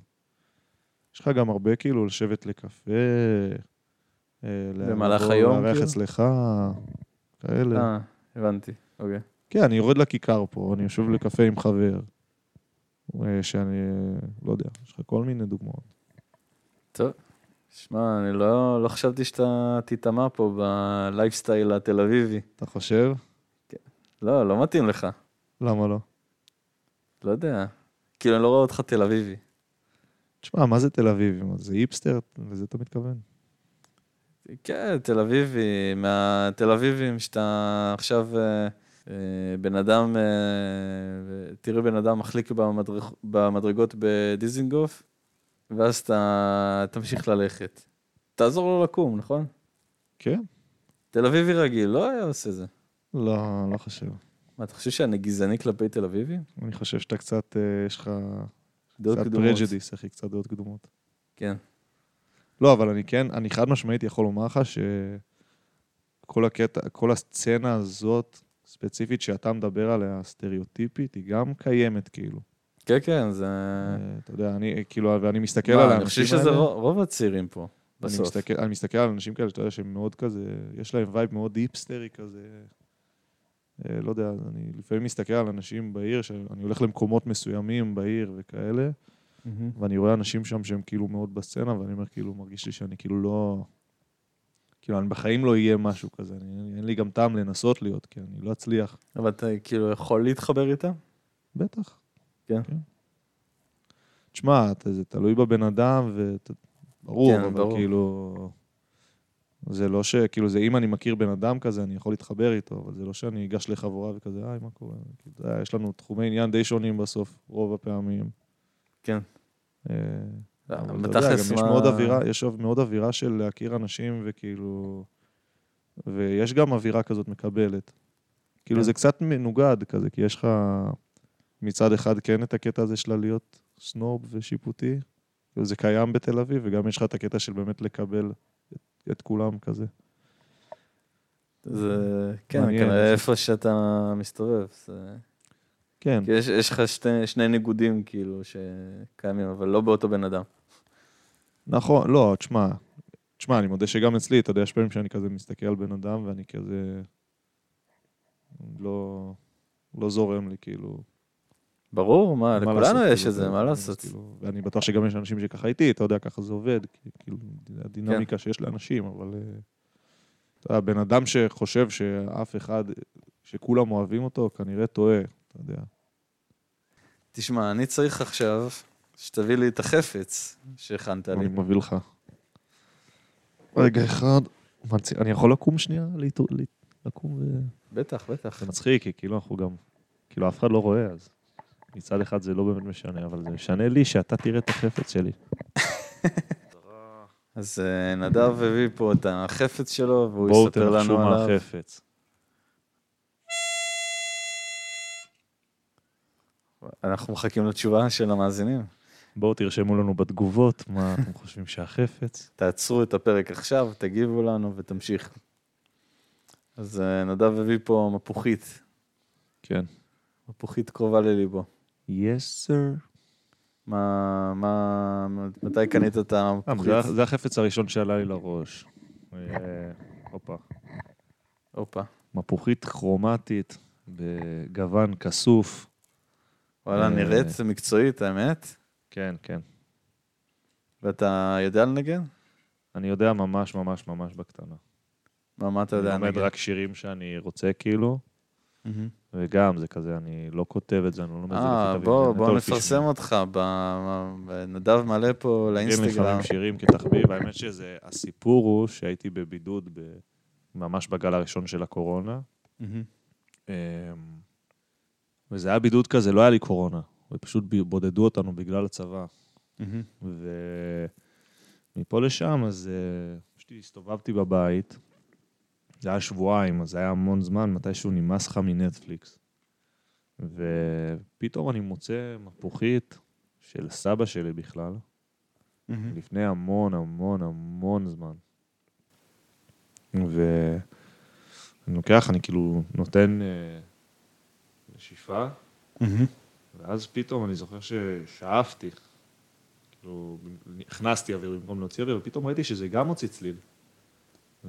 יש לך גם הרבה, כאילו, לשבת לקפה, אה, לה-
במהלך
לבוא,
היום,
לארח
כאילו?
אצלך, כאלה.
אה, הבנתי. אוקיי.
כן, אני יורד לכיכר פה, אני יושב לקפה עם חבר, אה, שאני, אה, לא יודע, יש לך כל מיני דוגמאות.
שמע, אני לא, לא חשבתי שאתה תיטמע פה בלייפסטייל התל אביבי.
אתה חושב?
לא, לא מתאים לך.
למה לא?
לא יודע. כאילו, אני לא רואה אותך תל אביבי.
תשמע, מה זה תל אביב? מה, זה היפסטר? לזה אתה מתכוון?
כן, תל אביבי, מהתל אביבים שאתה עכשיו אה, אה, בן אדם, אה, תראה בן אדם מחליק במדרג, במדרגות בדיזינגוף, ואז אתה תמשיך ללכת. תעזור לו לקום, נכון?
כן?
תל אביבי רגיל, לא היה עושה זה.
לא, לא חושב.
מה, אתה חושב שאני גזעני כלפי תל אביבים?
אני חושב שאתה קצת, אה, יש לך...
דעות
קצת
קדומות.
פרג'דיס, אחי, קצת דעות קדומות.
כן.
לא, אבל אני כן, אני חד משמעית יכול לומר לך שכל הקטע, כל הסצנה הזאת, ספציפית שאתה מדבר עליה, הסטריאוטיפית, היא גם קיימת, כאילו.
כן, כן, זה...
אה, אתה יודע, אני, כאילו, ואני מסתכל על האנשים
מה,
האלה.
אני חושב שזה רוב רוב הצעירים פה,
אני
בסוף.
מסתכל, אני מסתכל על אנשים כאלה, שאתה יודע, שהם מאוד כזה, יש להם וייב מאוד היפסטרי כזה. אה, לא יודע, אני לפעמים מסתכל על אנשים בעיר, שאני הולך למקומות מסוימים בעיר וכאלה,
מהמם.
ואני רואה אנשים שם שהם כאילו מאוד בסצנה, ואני אומר, כאילו, מרגיש לי שאני כאילו לא... כאילו, אני בחיים לא אהיה משהו כזה, אני, אין לי גם טעם לנסות להיות, כי אני לא אצליח.
אבל אתה כאילו יכול להתחבר איתם?
בטח.
כן.
תשמע, אתה- זה תלוי בבן אדם, וברור,
כן,
כן, אבל
ברור.
ברור. כאילו... זה לא ש... כאילו, זה אם אני מכיר בן אדם כזה, אני יכול להתחבר איתו, אבל זה לא שאני אגש לחבורה וכזה, היי, מה קורה? כאילו, אתה יודע, יש לנו תחומי עניין די שונים בסוף, רוב הפעמים.
כן.
אה, אבל אתה יודע, גם
בתכלס,
יש
מה-
מאוד אווירה, יש מאוד אווירה של להכיר אנשים וכאילו... ויש גם אווירה כזאת מקבלת. כאילו
כן.
זה קצת מנוגד כזה, כי יש לך מצד אחד כן את הקטע הזה שלה להיות סנוב ושיפוטי, כאילו זה קיים בתל אביב, וגם יש לך את הקטע של באמת לקבל את, את כולם כזה.
זה, כן,
מעניין.
כנראה איפה שאתה מסתובב. זה...
כן,
כי יש, יש לך שתי, שני ניגודים, כאילו, שקיימים, אבל לא באותו בן אדם.
נכון, לא, תשמע, תשמע, אני מודה שגם אצלי, אתה יודע, יש פעמים שאני כזה מסתכל על בן אדם ואני כזה... לא, לא זורם לי, כאילו.
ברור, מה,
מה
לכולנו
לעשות,
יש
כאילו,
את זה,
אתה
מה
יודע,
לעשות?
כאילו, ואני בטוח שגם יש אנשים שככה איתי, אתה יודע, ככה זה עובד, כי- כאילו, הדינמיקה שיש לאנשים, אבל... אה, אתה יודע, בן אדם שחושב שאף אחד, שכולם אוהבים אותו, כנראה טועה, אתה יודע.
תשמע, אני צריך עכשיו שתביא לי את החפץ שהכנת לי.
אני מביא לך. רגע אחד. מצ- אני יכול לקום שנייה? להתו- להת- לקום ו...
בטח, בטח.
זה מצחיק, כי כאילו אנחנו גם... כאילו אף אחד לא רואה, אז מצד אחד זה לא באמת משנה, אבל זה משנה לי שאתה תראה את החפץ שלי.
אז אה, נדב הביא פה את החפץ שלו, והוא
בואו
יספר
תנחשו
לנו
מה
עליו.
החפץ.
אנחנו מחכים לתשובה של המאזינים.
בואו תרשמו לנו בתגובות מה אתם חושבים שהחפץ.
תעצרו את הפרק עכשיו, תגיבו לנו ותמשיך. אז אה, נדב הביא פה מפוחית,
כן.
מפוחית קרובה לליבו.
יס סר.
מה, מה, מתי קנית את המפוחית?
אה, זה החפץ הראשון שעלה לי לראש. אה, הופה.
הופה,
מפוחית כרומטית בגוון כסוף.
וואלה,
אה.
נראית מקצועית, האמת.
כן, כן.
ואתה יודע לנגן?
אני יודע ממש ממש ממש בקטנה.
מה, מה אתה יודע
אני לומד
לנגן?
רק שירים שאני רוצה, כאילו,
מהמם.
וגם זה כזה, אני לא כותב את זה, אני לא לומד את זה
אה,
לפי
בוא,
תווים,
בוא
אני יותר לפי
נפרסם
שירים.
אותך. ב- ב- נדב מעלה פה
כן,
לאינסטגרם.
לפעמים שירים כתחביב, האמת שזה, הסיפור הוא שהייתי בבידוד ב- ממש בגל הראשון של הקורונה,
מהמם.
אמ, וזה היה בידוד כזה, לא היה לי קורונה, ופשוט ב- בודדו אותנו בגלל הצבא.
מהמם.
ומפה לשם, אז אה, פשוט הסתובבתי בבית. זה היה שבועיים, אז זה היה המון זמן, מתישהו נמאס לך מנטפליקס. ופתאום אני מוצא מפוחית של סבא שלי בכלל,
מהמם.
לפני המון המון המון זמן. ואני לוקח, אני כאילו נותן אה, נשיפה,
מהמם.
ואז פתאום אני זוכר ששאפתי, כאילו, הכנסתי אוויר במקום להוציא אוויר, ופתאום ראיתי שזה גם הוציא צליל.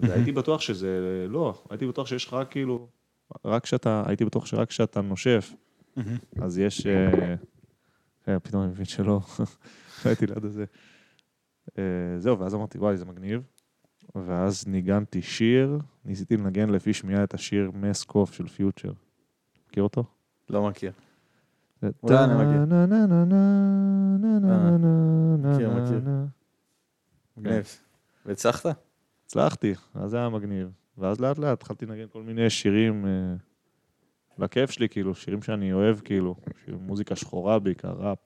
והייתי בטוח שזה, לא, הייתי בטוח שיש לך רק כאילו, רק כשאתה, הייתי בטוח שרק כשאתה נושף,
מהמם.
אז יש, אה, אה, פתאום אני מבין שלא, לא הייתי ליד הזה. אה, זהו, ואז אמרתי, וואי, זה מגניב. ואז ניגנתי שיר, ניסיתי לנגן לפי שמיעה את השיר מס קוף של פיוטר. מכיר אותו?
לא מכיר.
זה
אולי אני מכיר.
טה- נה- נה- נה- נה- נה- נה- נה- נה-
אה, מכיר,
נה-
מכיר.
נה. כן.
מגניב. והצלחת?
הצלחתי, אז זה היה מגניב. ואז לאט לאט התחלתי לנגן כל מיני שירים אה, לכיף שלי, כאילו, שירים שאני אוהב, כאילו, שירים- מוזיקה שחורה בעיקר, ראפ,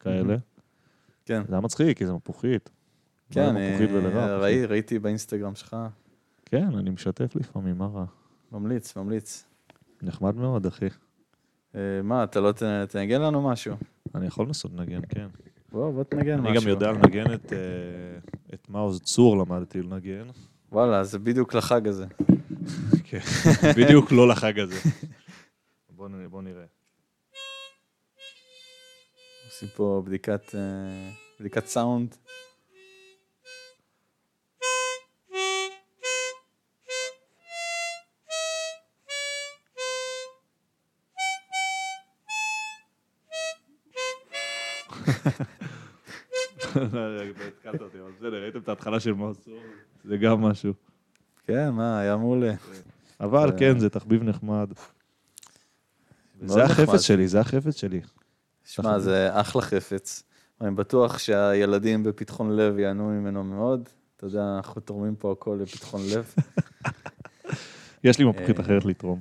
כאלה.
כן.
זה היה מצחיק, כי זה מפוחית. לא
כן,
היה מפוחית
אה,
ולרע.
ראי- ראיתי באינסטגרם שלך.
כן, אני משתף לפעמים, מה רע?
ממליץ, ממליץ.
נחמד מאוד, אחי.
אה, מה, אתה לא ת- תנגן לנו משהו?
אני יכול לנסות לנגן, כן.
בוא, בוא תנגן משהו.
אני גם יודע לנגן את, אה, את מעוז צור למדתי לנגן.
וואלה, זה בדיוק לחג הזה.
כן, בדיוק לא לחג הזה. בוא נ- בוא נראה.
עושים פה בדיקת, אה, בדיקת סאונד.
לא, התקלת אותי, אבל בסדר, ראיתם את ההתחלה של מעוז צור? זה גם משהו.
כן, מה, היה מעולה.
אבל
זה-
כן, זה תחביב נחמד.
מאוד
זה
נחמד.
החפץ שלי, זה החפץ שלי.
שמע, זה אחלה חפץ. אני בטוח שהילדים בפתחון לב ייהנו ממנו מאוד. אתה יודע, אנחנו תורמים פה הכל לפתחון לב.
יש לי מפוחית
אה,
אחרת לתרום.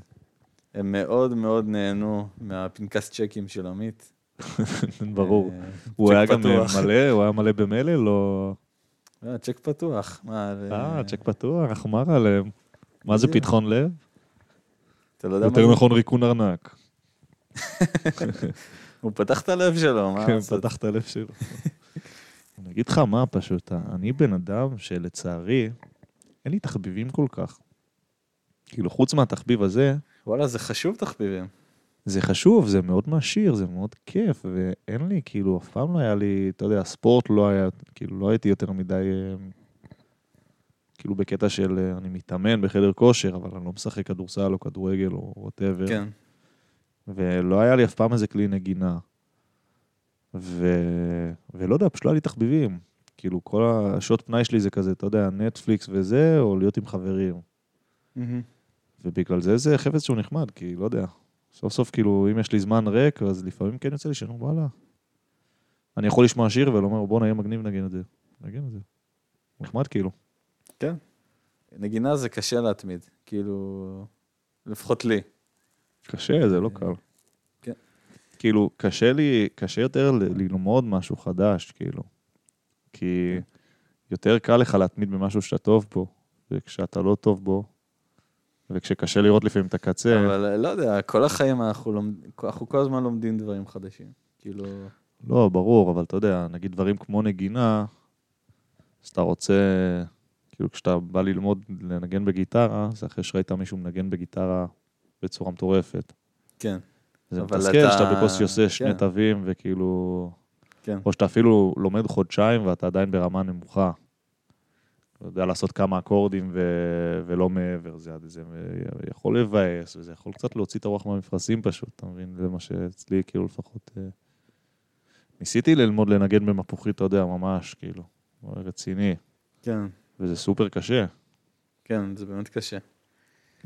הם מאוד מאוד נהנו מהפנקס צ'קים של עמית.
ברור.
אה,
הוא
צ'ק
היה גם אה,
פתוח.
מלא, הוא היה מלא במלל, או...
לא, צ'ק פתוח. מה,
אה, צ'ק פתוח, החמר עליהם. מה זה
בדיוק.
פתחון לב?
אתה לא אה. יודע מה
יותר
זה?
נכון ריקון ארנק.
הוא פתח את הלב שלו, מה
כן,
לעשות?
פתח את הלב שלו. אני אגיד לך מה פשוט, אני בן אדם שלצערי, אין לי תחביבים כל כך. כאילו, חוץ מהתחביב הזה,
וואלה, זה חשוב תחביבים.
זה חשוב, זה מאוד מעשיר, זה מאוד כיף, ואין לי, כאילו, אף פעם לא היה לי, אתה יודע, ספורט לא היה, כאילו, לא הייתי יותר מדי, אה, כאילו, בקטע של אה, אני מתאמן בחדר כושר, אבל אני לא משחק כדורסל או כדורגל או וואטאבר.
כן.
ולא היה לי אף פעם איזה כלי נגינה. ו... ולא יודע, פשוט לא היה לי תחביבים. כאילו, כל השעות פנאי שלי זה כזה, אתה יודע, נטפליקס וזה, או להיות עם חברים. ובגלל זה זה חפץ שהוא נחמד, כי לא יודע. סוף סוף, כאילו, אם יש לי זמן ריק, אז לפעמים כן יוצא לי שאני אומר, וואלה. אני יכול לשמוע שיר ולומר, בואנה, יהיה מגניב נגן את זה. נגן את זה. נחמד כאילו.
נגינה זה קשה להתמיד, כאילו, לפחות לי.
קשה, זה לא קל.
כן.
כאילו, קשה לי, קשה יותר ל- ללמוד משהו חדש, כאילו. כי
כן.
יותר קל לך להתמיד במשהו שאתה טוב בו, וכשאתה לא טוב בו, וכשקשה לראות לפעמים את הקצה,
אבל אה, לא יודע, כל החיים אנחנו לומדים, אנחנו כל הזמן לומדים דברים חדשים. כאילו,
לא, ברור, אבל אתה יודע, נגיד דברים כמו נגינה, אז אתה רוצה, כאילו, כשאתה בא ללמוד לנגן בגיטרה, זה אחרי שראית מישהו מנגן בגיטרה בצורה מטורפת.
כן,
זה
אבל
מתסכל
אתה-
שאתה בקושי עושה שני
כן.
תווים, וכאילו...
כן.
או שאתה אפילו לומד חודשיים ואתה עדיין ברמה נמוכה. אתה יודע לעשות כמה אקורדים ו... ולא מעבר, זה, זה יכול לבאס, וזה יכול קצת להוציא את הרוח מהמפרשים פשוט, אתה מבין? זה מה שאצלי כאילו לפחות... אה, ניסיתי ללמוד לנגן במפוחית, אתה יודע, ממש, כאילו, רציני,
כן,
וזה סופר קשה.
כן, זה באמת קשה.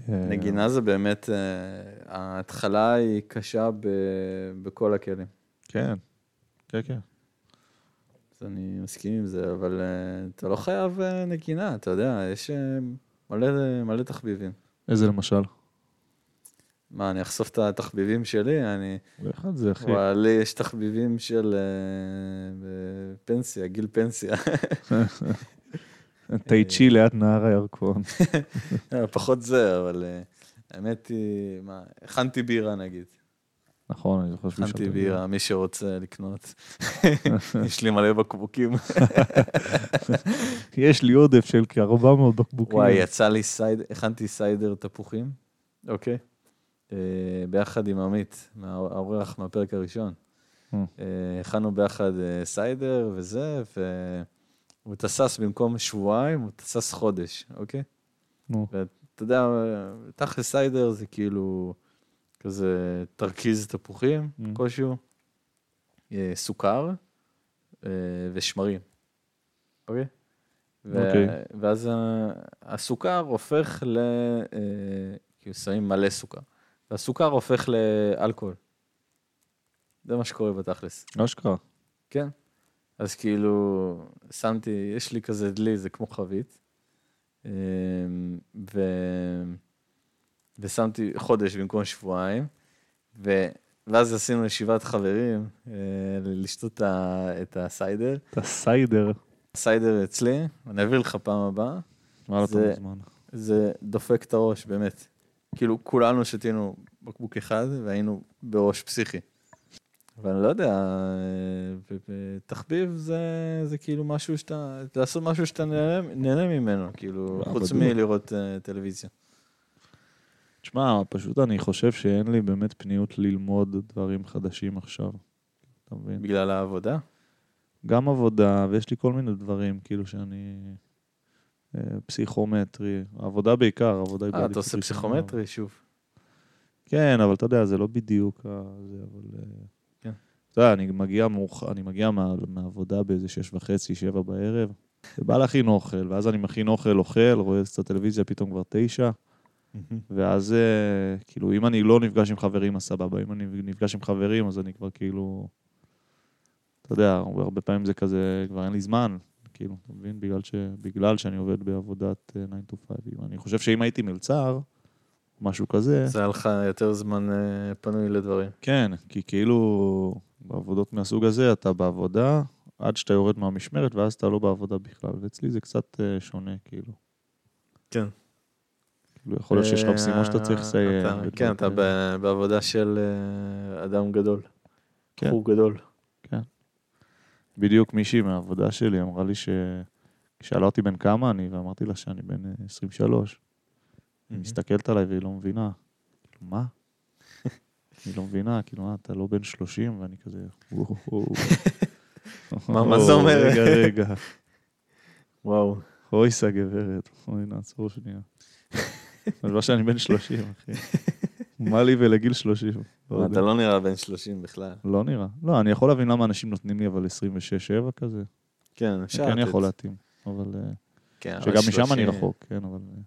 אה,
נגינה זה באמת, אה, ההתחלה היא קשה ב- בכל הכלים.
כן, כן, כן.
אז אני מסכים עם זה, אבל אה, אתה לא חייב אה, נגינה, אתה יודע, יש אה, מלא, מלא תחביבים.
איזה למשל?
מה, אני אחשוף את התחביבים שלי? אני...
אחד זה, אחי.
וואי, לי יש תחביבים של אה, ב- פנסיה, גיל פנסיה.
תאי
אה,
צ'י ליד נהר הירקון.
פחות זה, אבל אה, האמת היא, מה, הכנתי בירה נגיד.
נכון, אני זוכר שמישהו...
הכנתי בירה, מי שרוצה לקנות. יש לי מלא בקבוקים.
יש לי עודף של כ-400 בקבוקים.
וואי, יצא לי סיידר, הכנתי סיידר תפוחים, אוקיי? אה, ביחד עם עמית, מהאורח מהפרק הראשון.
Mm.
אה, הכנו ביחד אה, סיידר וזה, והוא טסס במקום שבועיים, הוא טסס חודש, אוקיי?
נו,
אתה יודע, אה, תכל'ס סיידר זה כאילו כזה תרכיז תפוחים
Mm.
כלשהו, אה, סוכר אה, ושמרים, אוקיי? ו-
אוקיי.
ואז ה- הסוכר הופך ל... אה, כאילו שמים מלא סוכר, והסוכר הופך לאלכוהול. זה מה שקורה בתכלס.
אשכרה.
כן. אז כאילו, שמתי, יש לי כזה דלי, זה כמו חבית, אמ, ו... ושמתי חודש במקום שבועיים, ו... ואז עשינו ישיבת חברים אה, ל- לשתות את ה- את הסיידר.
אתה סיידר.
הסיידר אצלי, אני אביא לך פעם הבאה,
וואלה, אתה
זה-
מוזמן.
זה דופק את הראש, באמת. כאילו, כולנו שתינו בקבוק אחד והיינו בראש פסיכי. אבל אני לא יודע, אה, ב- ב- תחביב זה, זה כאילו משהו שאתה, לעשות משהו שאתה נהנה, נהנה ממנו, כאילו,
אה,
חוץ
בדיוק.
מלראות אה, טלוויזיה.
תשמע, פשוט אני חושב שאין לי באמת פניות ללמוד דברים חדשים עכשיו. אתה מבין?
בגלל העבודה?
גם עבודה, ויש לי כל מיני דברים, כאילו שאני... אה, פסיכומטרי, עבודה בעיקר, עבודה היא
אה,
בעדיפות
אתה עושה
ראשונה.
פסיכומטרי שוב.
כן, אבל אתה יודע, זה לא בדיוק ה... זה, אבל... אה,
כן.
אתה יודע, אני מגיע, מאוח... אני מגיע מה... מהעבודה באיזה שש וחצי, שבע בערב, ובא להכין אוכל, ואז אני מכין אוכל, אוכל, רואה קצת טלוויזיה, פתאום כבר תשע, ואז אה, כאילו, אם אני לא נפגש עם חברים, אז סבבה, אם אני נפגש עם חברים, אז אני כבר כאילו... אתה יודע, הרבה פעמים זה כזה, כבר אין לי זמן, כאילו, אתה מבין? בגלל, ש... בגלל שאני עובד בעבודת אה, 9 to 5. אם- אני חושב שאם הייתי מלצר, משהו כזה...
זה היה לך יותר זמן אה, פנוי לדברים.
כן, כי כאילו בעבודות מהסוג הזה אתה בעבודה עד שאתה יורד מהמשמרת ואז אתה לא בעבודה בכלל, ואצלי זה קצת אה, שונה כאילו.
כן.
כאילו יכול להיות שיש לך
אה,
משימות שאתה צריך לסיים. אה,
אתה-
ודברים
כן, אתה
כאלה.
ב- בעבודה של אה, אדם גדול.
כן.
בחור גדול.
בדיוק מישהי מהעבודה שלי אמרה לי ש... שאלה אותי בן כמה אני ואמרתי לה שאני בן אה, 23.
מהמם.
היא מסתכלת עליי והיא לא מבינה. כאילו, מה? היא לא מבינה, כאילו, מה, אתה לא בן 30? ואני כזה, וואו.
מה- מה זה
וואו,
אומר?
רגע, רגע.
וואו.
אויסה גברת, אוי, נעצור שנייה. אבל לא שאני בן 30, אחי. מה לי ולגיל 30? לא יודע.
אתה לא נראה בן 30 בכלל.
לא נראה. לא, אני יכול להבין למה אנשים נותנים לי אבל 26-7 כזה.
כן,
אני
אפשר.
כן
לתת.
יכול להתאים. אבל... אה,
כן, אבל
שגם משם אני
30.
רחוק, כן, אבל... אה,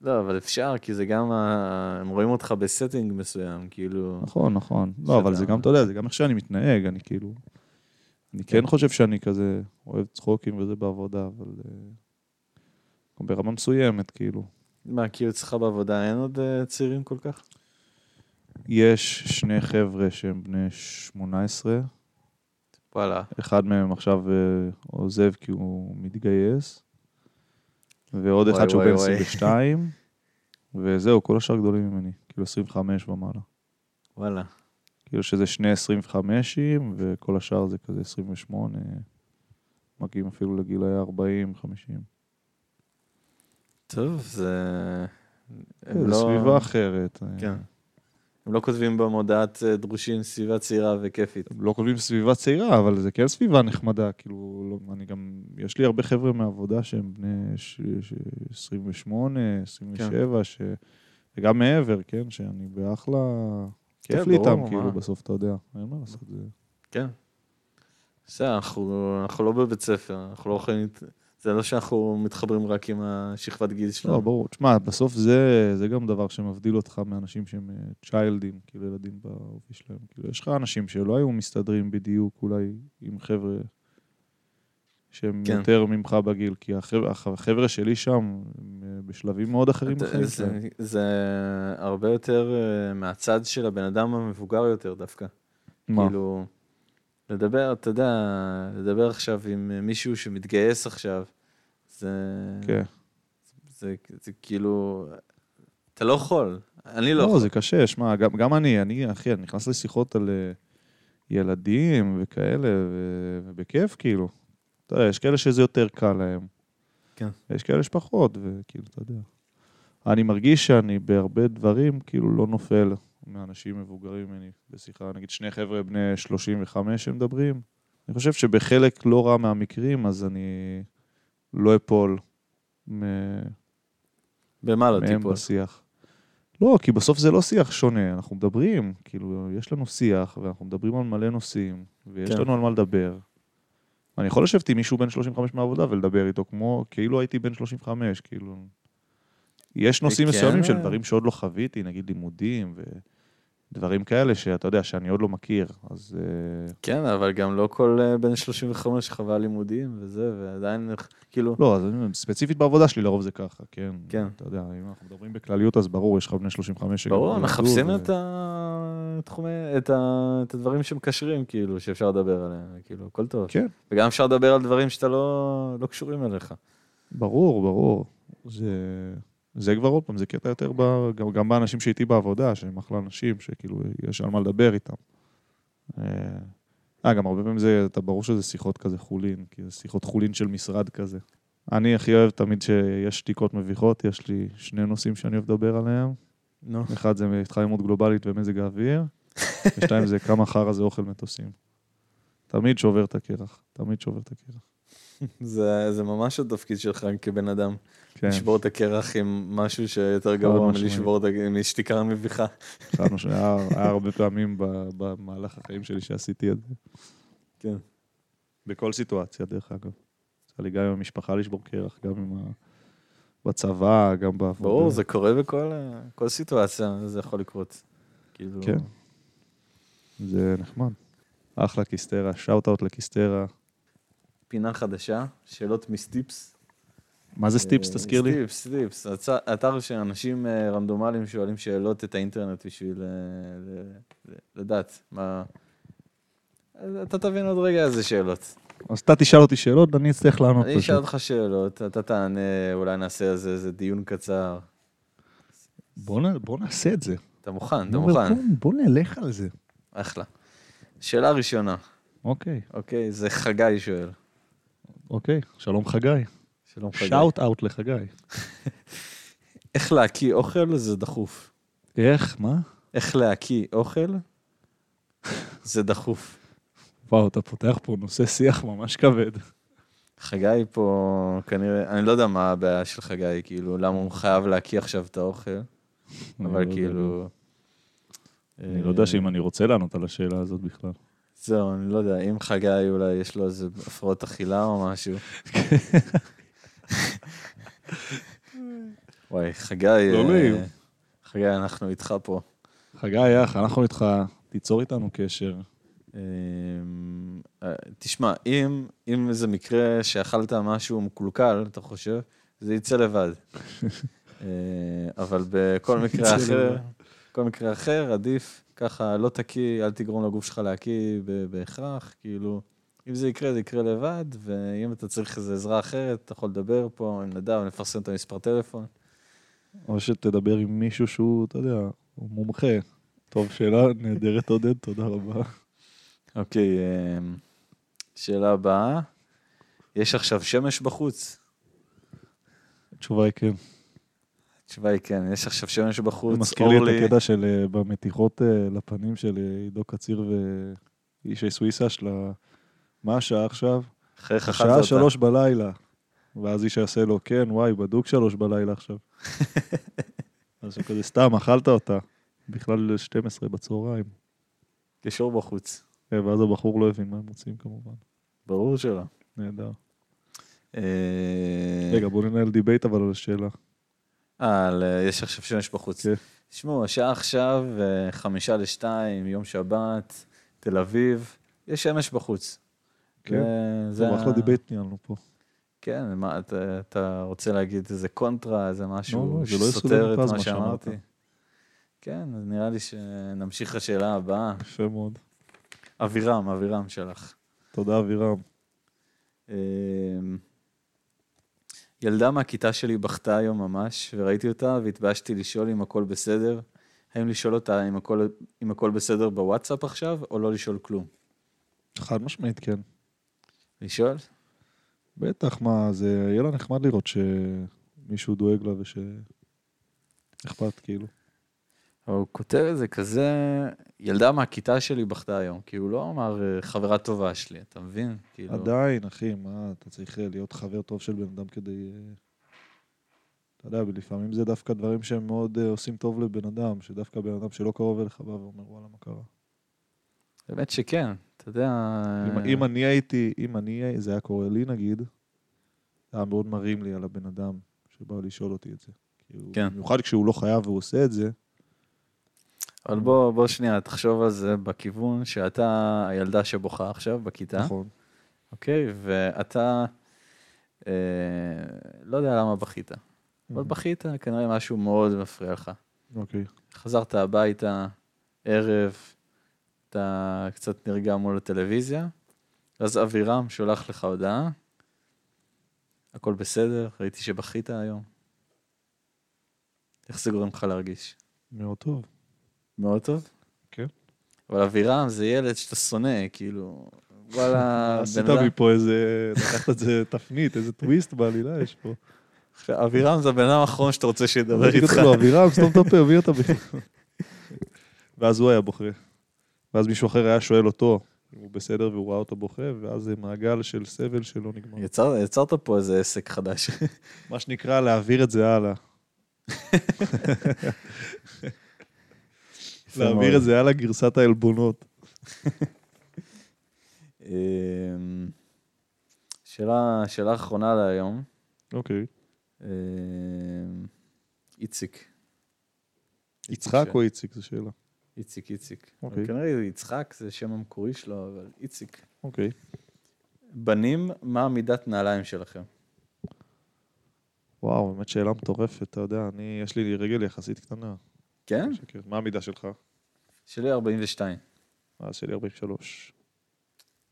לא, אבל אפשר, כי זה גם, ה- הם רואים אותך בסטינג מסוים, כאילו...
נכון, נכון.
שאתה-
לא, אבל זה גם, אתה יודע, זה גם איך שאני מתנהג, אני כאילו... אני כן חושב שאני כזה אוהב צחוקים וזה בעבודה, אבל... אה, גם ברמה מסוימת, כאילו.
מה, כי אצלך בעבודה אין עוד אה, צעירים כל כך?
יש שני חבר'ה שהם בני 18,
וואלה.
אחד מהם עכשיו אה, עוזב כי הוא מתגייס, ועוד
וואי,
אחד שהוא
וואי,
בן
וואי.
22, וזהו, כל השאר גדולים ממני, כאילו 25 ומעלה.
וואלה.
כאילו שזה שני 25ים, וכל השאר זה כזה 28, מגיעים אפילו לגיל היה 40, 50.
טוב, זה... הם
זה
לא-
סביבה אחרת. אה,
כן. הם לא כותבים במודעת אה, דרושים סביבה צעירה וכיפית.
הם לא כותבים סביבה צעירה, אבל זה כן סביבה נחמדה. כאילו, לא, אני גם, יש לי הרבה חבר'ה מהעבודה שהם בני ש- ש- 28,
כן.
27, ש... וגם מעבר, כן? שאני באחלה... כיף
כן,
לי
ברור,
איתם,
מה?
כאילו, בסוף אתה יודע. אין מה לעשות. זה-
כן. בסדר, אנחנו אנחנו לא בבית ספר, אנחנו לא יכולים... להת- זה לא שאנחנו מתחברים רק עם השכבת גיל
לא,
שלנו.
ברור. תשמע, בסוף זה, זה גם דבר שמבדיל אותך מאנשים שהם אה, צ'יילדים, כאילו ילדים באופי שלהם. כאילו, יש לך אנשים שלא היו מסתדרים בדיוק אולי עם חבר'ה שהם
כן.
כן. יותר ממך בגיל, כי החבר'ה, החבר'ה שלי שם הם אה, בשלבים מאוד אחרים
אתה-
בחיים
זה-
שלהם.
זה הרבה יותר אה, מהצד של הבן אדם המבוגר יותר דווקא.
מה?
כאילו, לדבר, אתה יודע, לדבר עכשיו עם מישהו שמתגייס עכשיו, זה...
כן.
זה, זה כאילו... אתה לא יכול. אני לא
לא,
יכול.
זה קשה, שמע, גם, גם אני, אני, אחי, אני נכנס לשיחות על אה, ילדים וכאלה, ו- ובכיף, כאילו. אתה יודע, יש כאלה שזה יותר קל להם.
כן.
יש כאלה שפחות, וכאילו, אתה יודע. אני מרגיש שאני בהרבה דברים, כאילו, לא נופל מאנשים מבוגרים ממני בשיחה. נגיד, שני חבר'ה בני 35 שמדברים. אני חושב שבחלק לא רע מהמקרים, אז אני לא אפול מ-
במה לא
מהם
טיפול?
בשיח. לא, כי בסוף זה לא שיח שונה, אנחנו מדברים, כאילו, יש לנו שיח, ואנחנו מדברים על מלא נושאים, ויש
כן.
כן. לנו על מה לדבר. אני יכול לשבת עם מישהו בן 35 מהעבודה ולדבר איתו כמו, כאילו הייתי בן 35, כאילו... יש נושאים
כן.
מסוימים של דברים שעוד לא חוויתי, נגיד לימודים ודברים כאלה שאתה יודע, שאני עוד לא מכיר, אז... אה,
כן, אבל גם לא כל אה, בן 35 חווה לימודים וזה, ועדיין, איך- כאילו,
לא, אז אני אומר, ספציפית בעבודה שלי לרוב זה ככה, כן.
כן.
אתה יודע, אם אנחנו מדברים בכלליות, אז ברור, יש לך בני 35 שגם
ברור,
למדו,
מחפשים
ו-
את התחומי, את ה- את הדברים שמקשרים, כאילו, שאפשר לדבר עליהם, כאילו, הכל טוב.
כן.
וגם אפשר לדבר על דברים שאתה לא לא קשורים אליך.
ברור, ברור. זה, זה כבר עוד פעם, זה קטע יותר ב, גם, גם באנשים שאיתי בעבודה, שהם אחלה אנשים, שכאילו יש על מה לדבר איתם. אה, אה, גם הרבה פעמים זה, אתה ברור שזה שיחות כזה חולין, כי זה שיחות חולין של משרד כזה. אני הכי אוהב תמיד שיש שתיקות מביכות, יש לי שני נושאים שאני אוהב לדבר עליהם.
נו.
אחד זה התחממות גלובלית ומזג האוויר, ושתיים זה כמה חרא זה אוכל מטוסים. תמיד שובר את הקרח, תמיד שובר את הקרח.
זה זה ממש התפקיד שלך כבן אדם,
כן,
לשבור את הקרח עם משהו שיותר גרוע
משמעית.
מלשבור את ה- עם שתיקה מביכה.
חד משמעית, היה היה הרבה פעמים ב- במהלך החיים שלי שעשיתי את זה.
כן.
בכל סיטואציה, דרך אגב. יצא לי גם עם המשפחה לשבור קרח, גם עם ה... בצבא, גם בעבודה.
ברור, זה קורה בכל ה- כל סיטואציה, זה יכול לקרות. כאילו,
כן. זה נחמד. אחלה קיסטרה, שאוט אאוט לקיסטרה.
פינה חדשה, שאלות מסטיפס.
מה
אה,
זה סטיפס, תזכיר לי?
סטיפס, סטיפס. הצ- אתר שאנשים אה, רנדומליים שואלים שאלות את האינטרנט בשביל אה, ל- ל- לדעת מה... אז אתה תבין עוד רגע איזה שאלות.
אז אתה תשאל אותי שאלות, אני אצטרך לענות
אני אשאל
אה, פשוט.
אותך שאלות, אתה תענה, אולי נעשה איזה איזה דיון קצר.
בוא נ- בוא נעשה את זה.
אתה מוכן, אתה
אני אומר,
מוכן.
בוא- בוא נלך על זה.
אחלה. שאלה ראשונה,
אוקיי,
אוקיי, זה חגי שואל.
אוקיי. שלום חגי.
שלום חגי.
שאוט אאוט לחגי.
איך להקיא אוכל זה דחוף.
איך? מה?
איך להקיא אוכל זה דחוף.
וואו, אתה פותח פה נושא שיח ממש כבד.
חגי פה, כנראה, אני לא יודע מה הבעיה של חגי, כאילו, למה הוא חייב להקיא עכשיו את האוכל,
אני
אבל
לא יודע.
כאילו... אה,
אני לא יודע שאם אני רוצה לענות על השאלה הזאת בכלל.
זהו, אני לא יודע, אם חגי אולי יש לו איזה הפרעות אכילה או משהו. וואי, חגי... אה,
לא נעים.
חגי, אנחנו איתך פה.
חגי, אח, אנחנו איתך, תיצור איתנו קשר.
אמ, אה, תשמע, אם, אם איזה מקרה שאכלת משהו מקולקל, אתה חושב, זה יצא לבד. אה, אבל בכל מקרה אחר, כל מקרה אחר, עדיף ככה, לא תקיא, אל תגרום לגוף שלך להקיא ב- בהכרח, כאילו, אם זה יקרה, זה יקרה לבד, ואם אתה צריך איזו עזרה אחרת, אתה יכול לדבר פה עם נדב, נפרסם את המספר טלפון.
או שתדבר עם מישהו שהוא, אתה יודע, הוא מומחה. טוב, שאלה נהדרת עודד, תודה רבה.
אוקיי, אמ, שאלה הבאה, יש עכשיו שמש בחוץ?
התשובה היא כן.
התשובה היא כן, יש עכשיו שמש
זה
בחוץ,
מזכיר לי את
אורלי,
הקטע של אה, במתיחות אה, לפנים של אה, עידו קציר ואישי סוויסה של ה... מה השעה עכשיו?
חייך אכלת
השעה
אותה.
שלוש בלילה. ואז איש יעשה לו, כן, וואי, בדוק שלוש בלילה עכשיו. אז הוא כזה, סתם, אכלת אותה. בכלל 12 בצהריים.
קישור בחוץ,
אה, ואז הבחור לא הבין מה הם רוצים כמובן.
ברור שלא.
נהדר.
אה,
רגע, בוא ננהל דיבייט אבל על השאלה.
אה, על, אה, יש עכשיו שמש בחוץ.
כן.
תשמעו, השעה עכשיו, אה, חמישה לשתיים, יום שבת, תל אביב, יש שמש בחוץ.
כן,
זה-
זה
אה, זה
אחלה
ה-
דיבייט ניהלנו פה.
כן, מה, אתה, אתה רוצה להגיד איזה קונטרה, איזה
לא,
משהו
לא, זה לא
שסותר
יסודר
את
בפז
מה
מה
שאמרתי?
שאמרת.
כן, אז נראה לי שנמשיך לשאלה הבאה.
יפה מאוד.
אבירם, אבירם שלך.
תודה, אבירם.
אמ, ילדה מהכיתה שלי בכתה היום ממש, וראיתי אותה והתביישתי לשאול אם הכל בסדר. האם לשאול אותה אם הכל, אם הכל בסדר בוואטסאפ עכשיו, או לא לשאול כלום?
חד משמעית, כן.
לשאול?
בטח, מה, זה יהיה לה נחמד לראות שמישהו דואג לה ושאכפת, כאילו.
הוא כותב את זה כזה, ילדה מהכיתה שלי בכתה היום, כי הוא לא אמר "אה, חברה טובה שלי, אתה מבין? כאילו,
עדיין, אחי, מה, אתה צריך אה, להיות חבר טוב של בן אדם כדי... אה, אתה יודע, לפעמים זה דווקא דברים שהם מאוד אה, עושים טוב לבן אדם, שדווקא בן אדם שלא קרוב אליך בא ואומר, וואלה, מה קרה?
באמת שכן, אתה יודע... אה.
אם, אם אני הייתי, אם אני, הי- זה היה קורה לי נגיד, זה היה מאוד מרים לי על הבן אדם שבא לשאול אותי את זה. כאילו,
כן.
במיוחד כשהוא לא חייב והוא עושה את זה,
אבל בוא, בוא שנייה, תחשוב על זה בכיוון שאתה הילדה שבוכה עכשיו בכיתה.
נכון.
אוקיי, ואתה, אה, לא יודע למה בכית,
Mm-hmm.
אבל בכית, כנראה משהו מאוד מפריע לך.
Mhm. אוקיי.
חזרת הביתה, ערב, אתה קצת נרגע מול הטלוויזיה, ואז אבירם שולח לך הודעה, הכל בסדר, ראיתי שבכית היום. איך זה גורם לך להרגיש?
מאוד טוב.
מאוד טוב.
כן.
אבל אבירם זה ילד שאתה שונא, כאילו, וואלה,
עשית
אה, בן אדם...
מפה איזה, לקחת את זה תפנית, איזה טוויסט בעלילה יש פה.
עכשיו, אבירם זה הבן אדם האחרון שאתה רוצה שידבר איתך.
לא, אבירם, סתום את הפה, מי אתה בכלל? ואז הוא היה בוכה. ואז מישהו אחר היה שואל אותו אם הוא בסדר והוא ראה אותו בוכה, ואז זה מעגל של סבל שלא נגמר.
יצר, יצרת פה איזה עסק חדש.
מה שנקרא, להעביר את זה הלאה. להעביר את זה הלאה, גרסת העלבונות.
אמ, שאלה, שאלה אחרונה להיום.
אוקיי.
אמ, איציק,
יצחק או איציק, זו שאלה.
איציק, איציק.
אוקיי.
כנראה יצחק זה שם המקורי שלו, אבל איציק.
אוקיי.
בנים, מה מידת נעליים שלכם?
וואו, באמת שאלה מטורפת, אתה יודע, אני, יש לי רגל יחסית קטנה.
כן?
שקר. מה המידה שלך?
שלי 42.
אז שלי 43.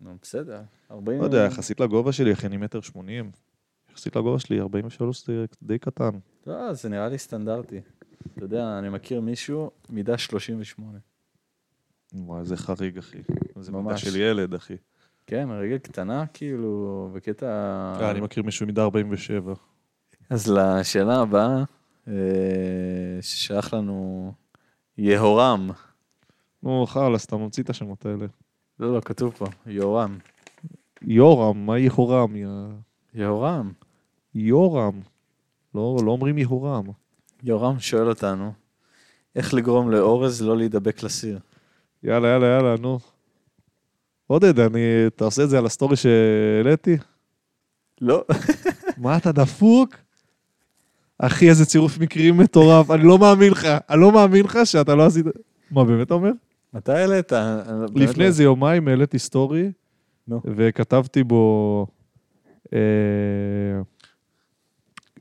נו, בסדר. 40...
לא יודע, יחסית לגובה שלי, אחי, אני מטר שמונים. יחסית לגובה שלי, 43 זה די קטן.
לא, זה נראה לי סטנדרטי. אתה יודע, אני מכיר מישהו, מידה 38.
וואי, זה חריג, אחי. זה מידה
ממש.
של ילד, אחי.
כן, רגל קטנה, כאילו, בקטע...
לא, אה, אני מכיר מישהו מידה 47.
אז לשאלה הבאה, אה, אה, ששלח לנו יהורם.
נו, חלאס, אתה ממציא את השמות האלה.
לא, לא, כתוב פה, יהורם.
יורם, מה יהורם? יא...
יהורם.
יורם. לא, לא אומרים יהורם.
יהורם שואל אותנו, איך לגרום לאורז לא להידבק לסיר?
יאללה, יאללה, יאללה, נו. עודד, אני... אתה עושה את זה על הסטורי שהעליתי?
לא.
מה, אתה דפוק? אחי, איזה צירוף מקרים מטורף. אני לא מאמין לך. אני לא מאמין לך שאתה לא עשית... מה, באמת אתה אומר?
מתי העלית? אני באמת
לפני
לא-
איזה יומיים העליתי סטורי,
נו.
וכתבתי בו... אה,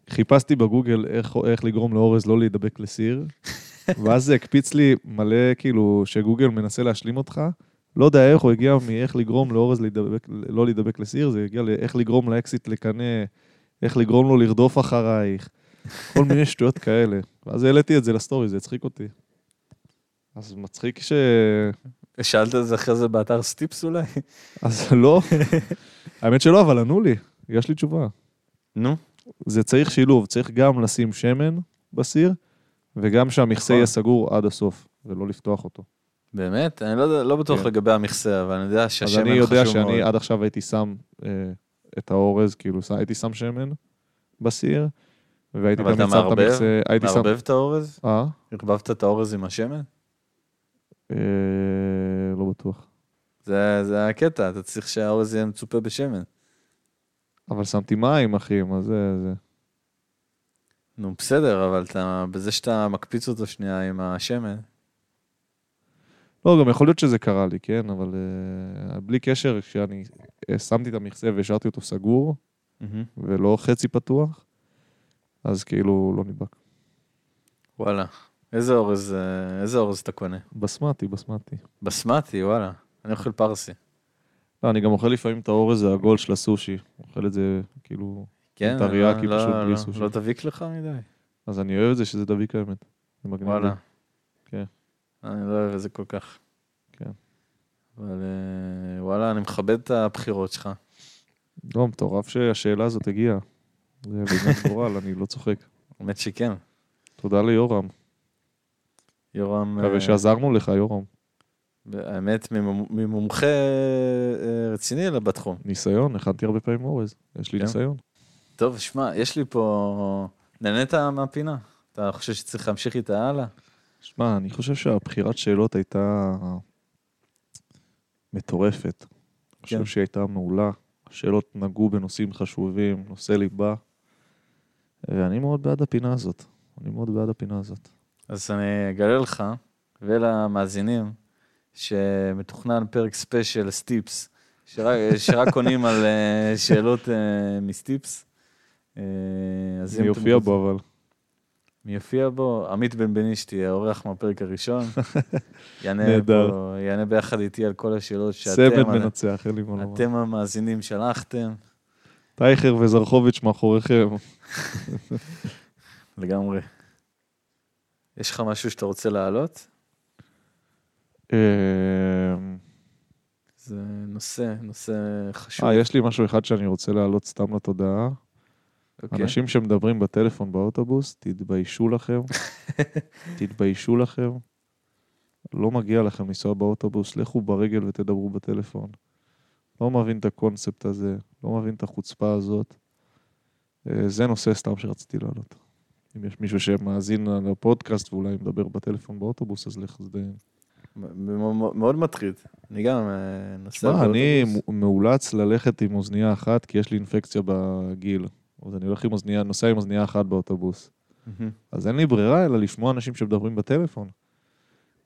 חיפשתי בגוגל איך, איך לגרום לאורז לא להידבק לסיר, ואז זה הקפיץ לי מלא, כאילו, שגוגל מנסה להשלים אותך. לא יודע איך, הוא הגיע מאיך לגרום לאורז להידבק, לא להידבק לסיר, זה הגיע לאיך לגרום לאקסיט לקנא, איך לגרום לו לרדוף אחרייך, כל מיני שטויות כאלה. ואז העליתי את זה לסטורי, זה הצחיק אותי. אז מצחיק ש...
שאלת את זה אחרי זה באתר סטיפס אולי?
אז לא, האמת שלא, אבל ענו לי, יש לי תשובה.
נו.
זה צריך שילוב, צריך גם לשים שמן בסיר, וגם שהמכסה
נכון.
יהיה סגור עד הסוף, ולא לפתוח אותו.
באמת? אני לא, יודע- לא בטוח
כן.
לגבי המכסה, אבל אני יודע
אז
שהשמן
אני
חשוב
יודע שאני
מאוד.
עד עכשיו הייתי שם אה, את האורז, כאילו, ש- הייתי שם שמן בסיר, והייתי
אבל
תמיד
אתה
שם את
מערבב?
המכסה, הייתי שם...
מערבב את האורז?
אה?
ערבבת את האורז עם השמן?
אה, לא בטוח.
זה, זה הקטע, אתה צריך שהאורז יהיה מצופה בשמן.
אבל שמתי מים, אחי, מה זה, זה.
נו, בסדר, אבל אתה, בזה שאתה מקפיץ אותו שנייה עם השמן,
לא, גם יכול להיות שזה קרה לי, כן? אבל אה, בלי קשר, כשאני אה, שמתי את המכסה והשארתי אותו סגור, ולא חצי פתוח, אז כאילו לא נדבק.
וואלה. איזה אורז, אה, איזה אורז אתה קונה?
בסמטי, בסמטי.
בסמטי, וואלה. אני אוכל פרסי.
לא, אני גם אוכל לפעמים את האורז העגול של הסושי. אוכל את זה, כאילו...
כן,
טריאקי
לא-
פשוט
לא-
בלי
לא-
סושי.
לא תביק לך מדי?
אז אני אוהב את זה שזה דביק האמת. זה מגניב.
וואלה.
כן.
אני לא אוהב את זה כל כך.
כן.
אבל אה, וואלה, אני מכבד את הבחירות שלך.
לי. לא, מטורף שהשאלה הזאת הגיעה. זה בעניין גורל, אני לא צוחק.
האמת שכן.
תודה ליורם.
אה. יורם... אה,
מקווה שעזרנו לך, יורם.
האמת, ממומ- ממומחה אה, רציני אלא בתחום.
ניסיון, הכנתי הרבה פעמים אורז. יש לי
כן.
ניסיון.
טוב, שמע, יש לי פה... נהנית מהפינה? אתה חושב שצריך להמשיך איתה הלאה?
שמע, אני חושב שהבחירת שאלות הייתה מטורפת. אני חושב
כן.
שהיא הייתה מעולה. השאלות נגעו בנושאים חשובים, נושא ליבה. ואני מאוד בעד הפינה הזאת. אני מאוד בעד הפינה הזאת.
אז אני אגלה לך ולמאזינים שמתוכנן פרק ספיישל סטיפס, שרק, שרק עונים על אה, שאלות אה, מסטיפס. אה, אז אם
אני
אתם
יופיע
רוצים-
בו, אבל...
מי יופיע בו? עמית בן בניש תהיה האורח מהפרק הראשון. יענה
נהדר.
פה, יענה ביחד איתי על כל השאלות
סמל
שאתם,
מנצח, אין לי מה לומר.
אתם המאזינים שלחתם.
טייכר וזרחוביץ' מאחוריכם.
לגמרי. יש לך משהו שאתה רוצה להעלות?
אמ,
זה נושא, נושא חשוב.
אה, יש לי משהו אחד שאני רוצה להעלות סתם לתודעה.
אוקיי.
אנשים שמדברים בטלפון באוטובוס, תתביישו לכם. תתביישו לכם. לא מגיע לכם לנסוע באוטובוס, לכו ברגל ותדברו בטלפון. לא מבין את הקונספט הזה, לא מבין את החוצפה הזאת. אה, זה נושא סתם שרציתי להעלות. אם יש מישהו שמאזין לפודקאסט ואולי מדבר בטלפון באוטובוס, אז לך תזדיין.
מ- מ- מאוד מטריד. אני גם אה, נוסע
שמע, אני
באוטובוס.
מ- מאולץ ללכת עם אוזנייה אחת, כי יש לי אינפקציה בגיל. אז אני הולך עם אוזנייה, נוסע עם אוזנייה אחת באוטובוס.
מהמם.
אז אין לי ברירה אלא לשמוע אנשים שמדברים בטלפון.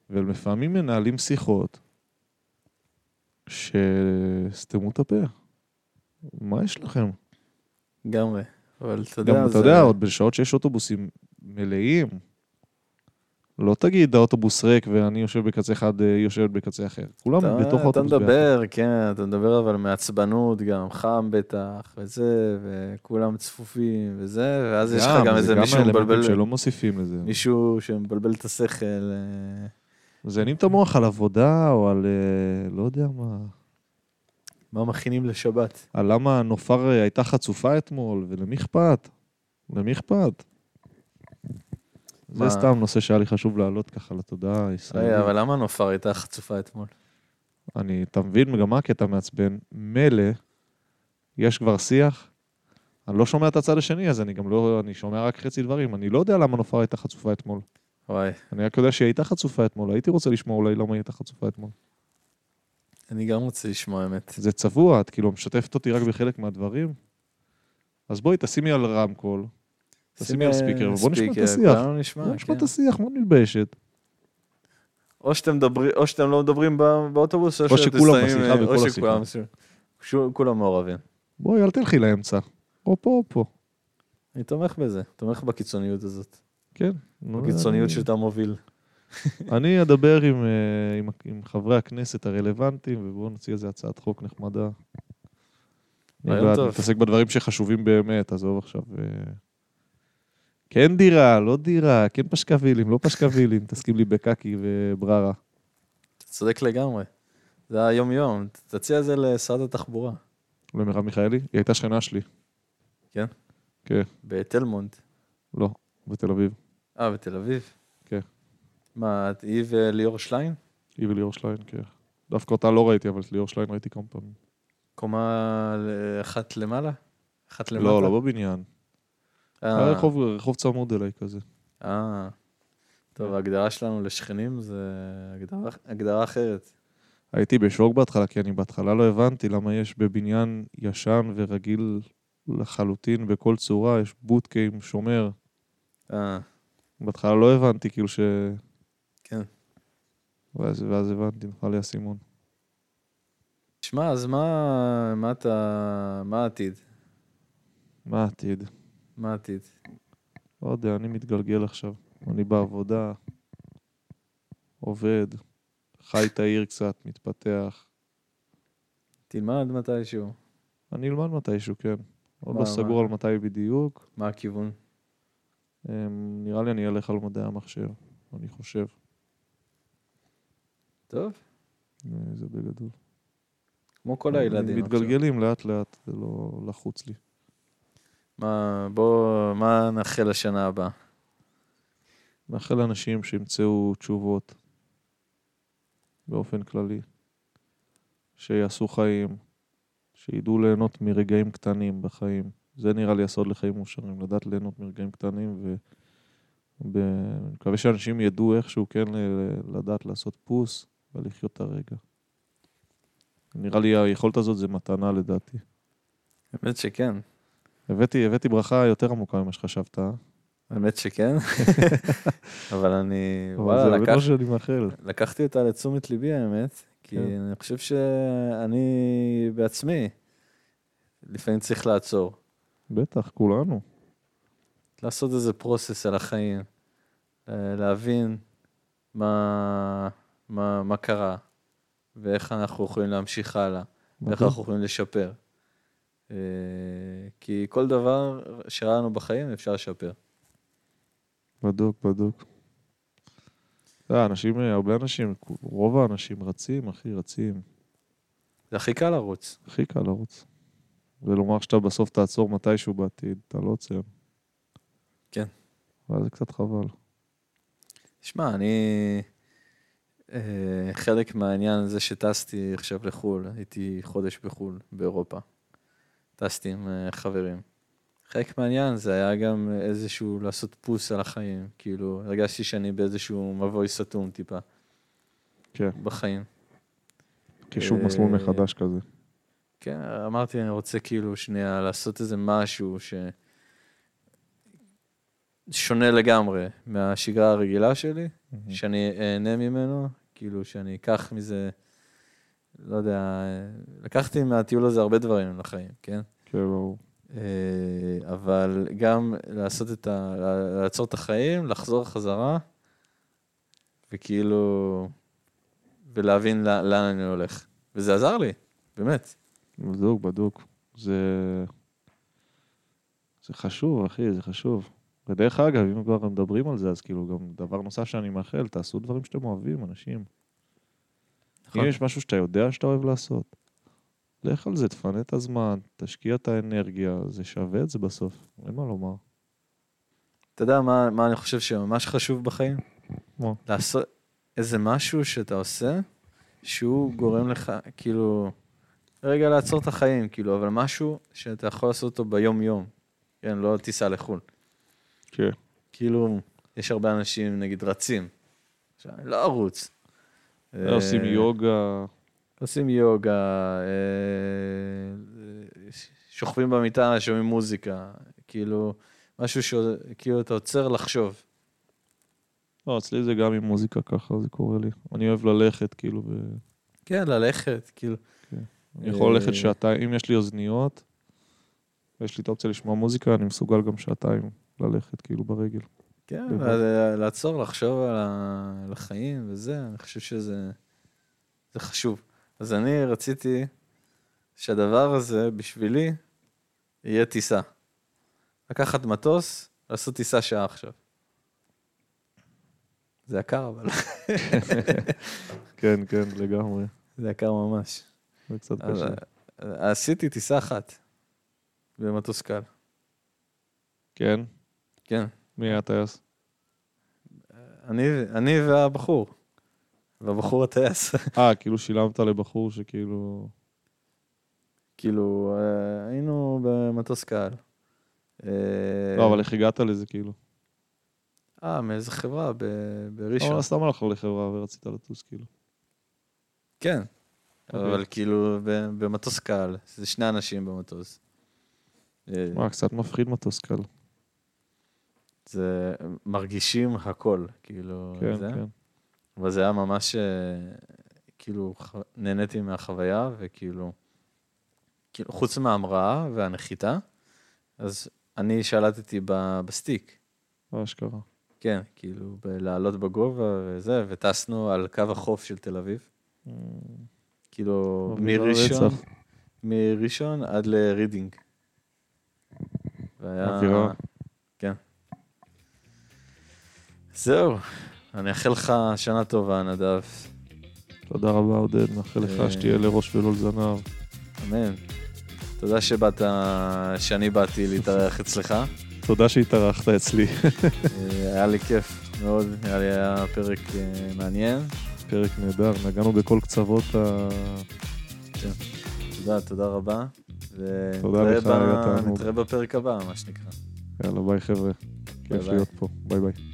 ולפעמים מנהלים שיחות שסתמו את הפה. מה יש לכם?
לגמרי. אבל אתה יודע,
גם אתה
זה-
יודע, עוד בשעות שיש אוטובוסים מלאים, לא תגיד האוטובוס ריק ואני יושב בקצה אחד, אה, היא יושבת בקצה אחר. כולם
אתה-
בתוך
אתה
האוטובוס ביחד.
מדבר, כן, אתה מדבר אבל מעצבנות גם, חם בטח, וזה, וכולם צפופים, וזה, ואז יש לך גם
זה
איזה מישהו
האלמנטים
מבלבל,
שלא מוסיפים לזה.
מישהו שמבלבל את השכל. אה,
מזיינים את המוח על עבודה או על אה, לא יודע מה,
מה מכינים לשבת?
על למה אה, נופר אה, הייתה חצופה אתמול ולמי אכפת? למי אכפת? זה סתם נושא שהיה לי חשוב להעלות ככה לתודעה
רגע,
הישראלית.
אבל למה נופר הייתה חצופה אתמול?
אני, אתה מבין גם מה הקטע מעצבן? מילא, יש כבר שיח, אני לא שומע את הצד השני, אז אני גם לא, אני שומע רק חצי דברים. אני לא יודע למה נופר הייתה חצופה אתמול.
וואי,
אני רק יודע שהיא הייתה חצופה אתמול, הייתי רוצה לשמוע אולי למה היא הייתה חצופה אתמול.
אני גם רוצה לשמוע אמת.
זה צבוע, את כאילו משתפת אותי רק בחלק מהדברים. אז בואי, תשימי על רמקול, תשימי על ספיקר, ובוא נשמע את
ספיקר,
השיח.
כולנו נשמע,
בואי נשמע
כן.
את השיח, מה מתביישת?
או שאתם, מדברים, או שאתם לא מדברים בא- באוטובוס, או,
או
שאתם
שכולם
שמים,
בשיחה
אה,
וכל
או
השיחה.
שכולם בשיחה. שו- כולם מעורבים.
בואי, אל תלכי לאמצע. או פה או פה.
אני תומך בזה, תומך בקיצוניות הזאת.
נו,
בקיצוניות
אני-
שאתה מוביל.
אני אדבר עם, אה, עם, עם חברי הכנסת הרלוונטיים, ובואו נוציא איזה הצעת חוק נחמדה. אני
רעיון
בעד,
טוב.
נתעסק בדברים שחשובים באמת, עזוב עכשיו. אה, כן דירה, לא דירה, כן פשקווילים, לא פשקווילים, תסכים לי בקקי ובררה.
אתה צודק לגמרי. זה היום-יום, ת- תציע את זה לשרת התחבורה,
למרב לא, מיכאלי? היא הייתה שכנה שלי,
בתלמונד.
לא, בתל אביב.
אה, בתל אביב?
כן.
מה, את- היא וליאור שליין?
היא וליאור שליין, כן. דווקא אותה לא ראיתי, אבל את ליאור שליין ראיתי כמה פעמים.
קומה ל- אחת למעלה? אחת למטה?
לא, לא בבניין. היה
אה,
רחוב- רחוב צמוד אליי כזה.
אה.
כן.
טוב, ההגדרה שלנו לשכנים זה הגדרה- הגדרה אחרת.
הייתי בשוק בהתחלה, כי אני בהתחלה לא הבנתי למה יש בבניין ישן ורגיל לחלוטין בכל צורה, יש בוטקה עם שומר.
אה,
בהתחלה לא הבנתי, כאילו ש...
כן.
ואז, ואז הבנתי, נפל לי האסימון.
שמע, אז מה, מה אתה, מה העתיד?
מה העתיד?
מה העתיד?
לא יודע, אני מתגלגל עכשיו. אני בעבודה, עובד, חי את העיר קצת, מתפתח.
תלמד מתישהו.
אני אלמד מתישהו, כן.
מה-
עוד לא
מה?
סגור על מתי בדיוק.
מה הכיוון?
אמ, נראה לי אני אלך על מדעי המחשב, אני חושב.
טוב,
אה, זה בגדול.
כמו כל הילדים עכשיו.
מתגלגלים לאט לאט, זה לא לחוץ לי.
מה, בוא, מה נאחל לשנה הבאה?
מאחל לאנשים שימצאו תשובות באופן כללי, שיעשו חיים, שידעו ליהנות מרגעים קטנים בחיים. זה נראה לי הסוד לחיים מאושרים, לדעת ליהנות מרגעים קטנים, ו... ב... אני מקווה שאנשים ידעו איכשהו כן ל- לדעת לעשות פוס ולחיות את הרגע. נראה לי היכולת הזאת זה מתנה לדעתי.
האמת שכן.
הבאתי, הבאתי ברכה יותר עמוקה ממה שחשבת, אה?
האמת שכן. אבל אני,
אבל זה לא-
וואלה,
באמת
לקח,
מה שאני מאחל.
לקחתי אותה לתשומת ליבי, האמת, כי
כן.
אני חושב שאני בעצמי, לפעמים צריך לעצור.
בטח, כולנו.
לעשות איזה פרוסס על החיים, אה, להבין מה, מה, מה קרה, ואיך אנחנו יכולים להמשיך הלאה, ואיך
אוקיי.
אנחנו יכולים לשפר. אה, כי כל דבר שראה לנו בחיים אפשר לשפר.
בדוק, בדוק. אה, אנשים, אה, הרבה אנשים, כו- רוב האנשים רצים, אחי, רצים.
זה הכי קל לרוץ.
הכי קל לרוץ. ולומר שאתה בסוף תעצור מתישהו בעתיד, אתה לא עוצר.
כן.
אבל זה קצת חבל.
שמע, אני... אה, חלק מהעניין זה שטסתי עכשיו לחו"ל, הייתי חודש בחו"ל, באירופה. טסתי עם אה, חברים. חלק מהעניין זה היה גם איזשהו לעשות פוס על החיים, כאילו, הרגשתי שאני באיזשהו מבוי סתום טיפה
כן,
בחיים.
קישור
אה,
מסלול מחדש כזה.
כן, אמרתי, אני רוצה כאילו שנייה לעשות איזה משהו ש... שונה לגמרי מהשגרה הרגילה שלי,
Mm.
שאני אהנה ממנו, כאילו שאני אקח מזה, לא יודע, לקחתי מהטיול הזה הרבה דברים לחיים, כן?
כן, ברור.
אה, אבל גם לעשות את ה... לעצור את החיים, לחזור חזרה, וכאילו... ולהבין לא- לאן אני הולך. וזה עזר לי, באמת.
בדוק, בדוק. זה... זה חשוב, אחי, זה חשוב. ודרך אגב, אם כבר מדברים על זה, אז כאילו גם דבר נוסף שאני מאחל, תעשו דברים שאתם אוהבים, אנשים. אם יש משהו שאתה יודע שאתה אוהב לעשות, לך על זה, תפנה את הזמן, תשקיע את האנרגיה, זה שווה את זה בסוף, אין מה לומר.
אתה יודע מה, מה אני חושב שממש חשוב בחיים?
מה?
לעשות איזה משהו שאתה עושה, שהוא גורם לך, כאילו, רגע לעצור את החיים, כאילו, אבל משהו שאתה יכול לעשות אותו ביום-יום. כן, לא טיסה לחו"ל.
כן.
כאילו, יש הרבה אנשים, נגיד, רצים. עכשיו, לא ארוץ. אה,
לא, עושים יוגה,
עושים יוגה, אה, ש- שוכבים במיטה, שומעים מוזיקה. כאילו, משהו ש... כאילו, אתה עוצר לחשוב.
לא, אצלי זה גם עם מוזיקה ככה, זה קורה לי. אני אוהב ללכת, כאילו, ו...
כן, ללכת, כאילו.
אני יכול
אה,
ללכת שעתיים, אם יש לי אוזניות, ויש לי את האופציה לשמוע מוזיקה, אני מסוגל גם שעתיים ללכת, כאילו, ברגל.
כן,
בדיוק.
אבל, אה, לעצור, לחשוב על, ה... על החיים וזה, אני חושב שזה זה חשוב. אז אני רציתי שהדבר הזה, בשבילי, יהיה טיסה. לקחת מטוס, לעשות טיסה שעה עכשיו. זה יקר, אבל
כן, כן, לגמרי.
זה יקר ממש.
זה קצת
אז,
קשה.
אה, עשיתי טיסה אחת במטוס קל.
כן?
כן.
מי היה הטייס?
אני, אני והבחור. והבחור הטייס.
אה, כאילו שילמת לבחור שכאילו...
כאילו, אה, היינו במטוס קהל. אה,
לא, אבל איך הגעת לזה, כאילו?
אה, מאיזה חברה? ב- בראשון.
אבל סתם הלכנו לחברה ורצית לטוס, כאילו.
כן.
אוקיי.
אבל כאילו, ב- במטוס קהל. זה שני אנשים במטוס. אה,
מה, קצת מפחיד מטוס קל.
זה מרגישים הכל, כאילו,
כן,
זה.
כן.
אבל זה היה ממש, אה, כאילו, ח- נהניתי מהחוויה, וכאילו, כאילו, חוץ מההמראה והנחיתה, אז אני שלטתי ב- בסטיק.
אה, אשכרה.
כן, כאילו, ב- לעלות בגובה וזה, וטסנו על קו החוף של תל אביב. כאילו,
מוביל
מראשון,
לרצח.
מראשון עד לרידינג. והיה...
אווירה.
כן. זהו, אני אאחל לך שנה טובה, נדב.
תודה רבה, עודד, מאחל
אה,
לך שתהיה לראש ולא לזנב.
אמן. תודה שבאת, שאני באתי להתארח אצלך.
תודה שהתארחת אצלי.
אה, היה לי כיף מאוד, היה לי היה פרק אה, מעניין.
פרק נהדר, נגענו בכל קצוות ה...
תודה, תודה רבה.
תודה
ונתראה
לך,
ב-
היה תענוג.
נתראה בפרק הבא, מה שנקרא.
יאללה, ביי חבר'ה. כיף
כן, ביי.
להיות פה. ביי ביי.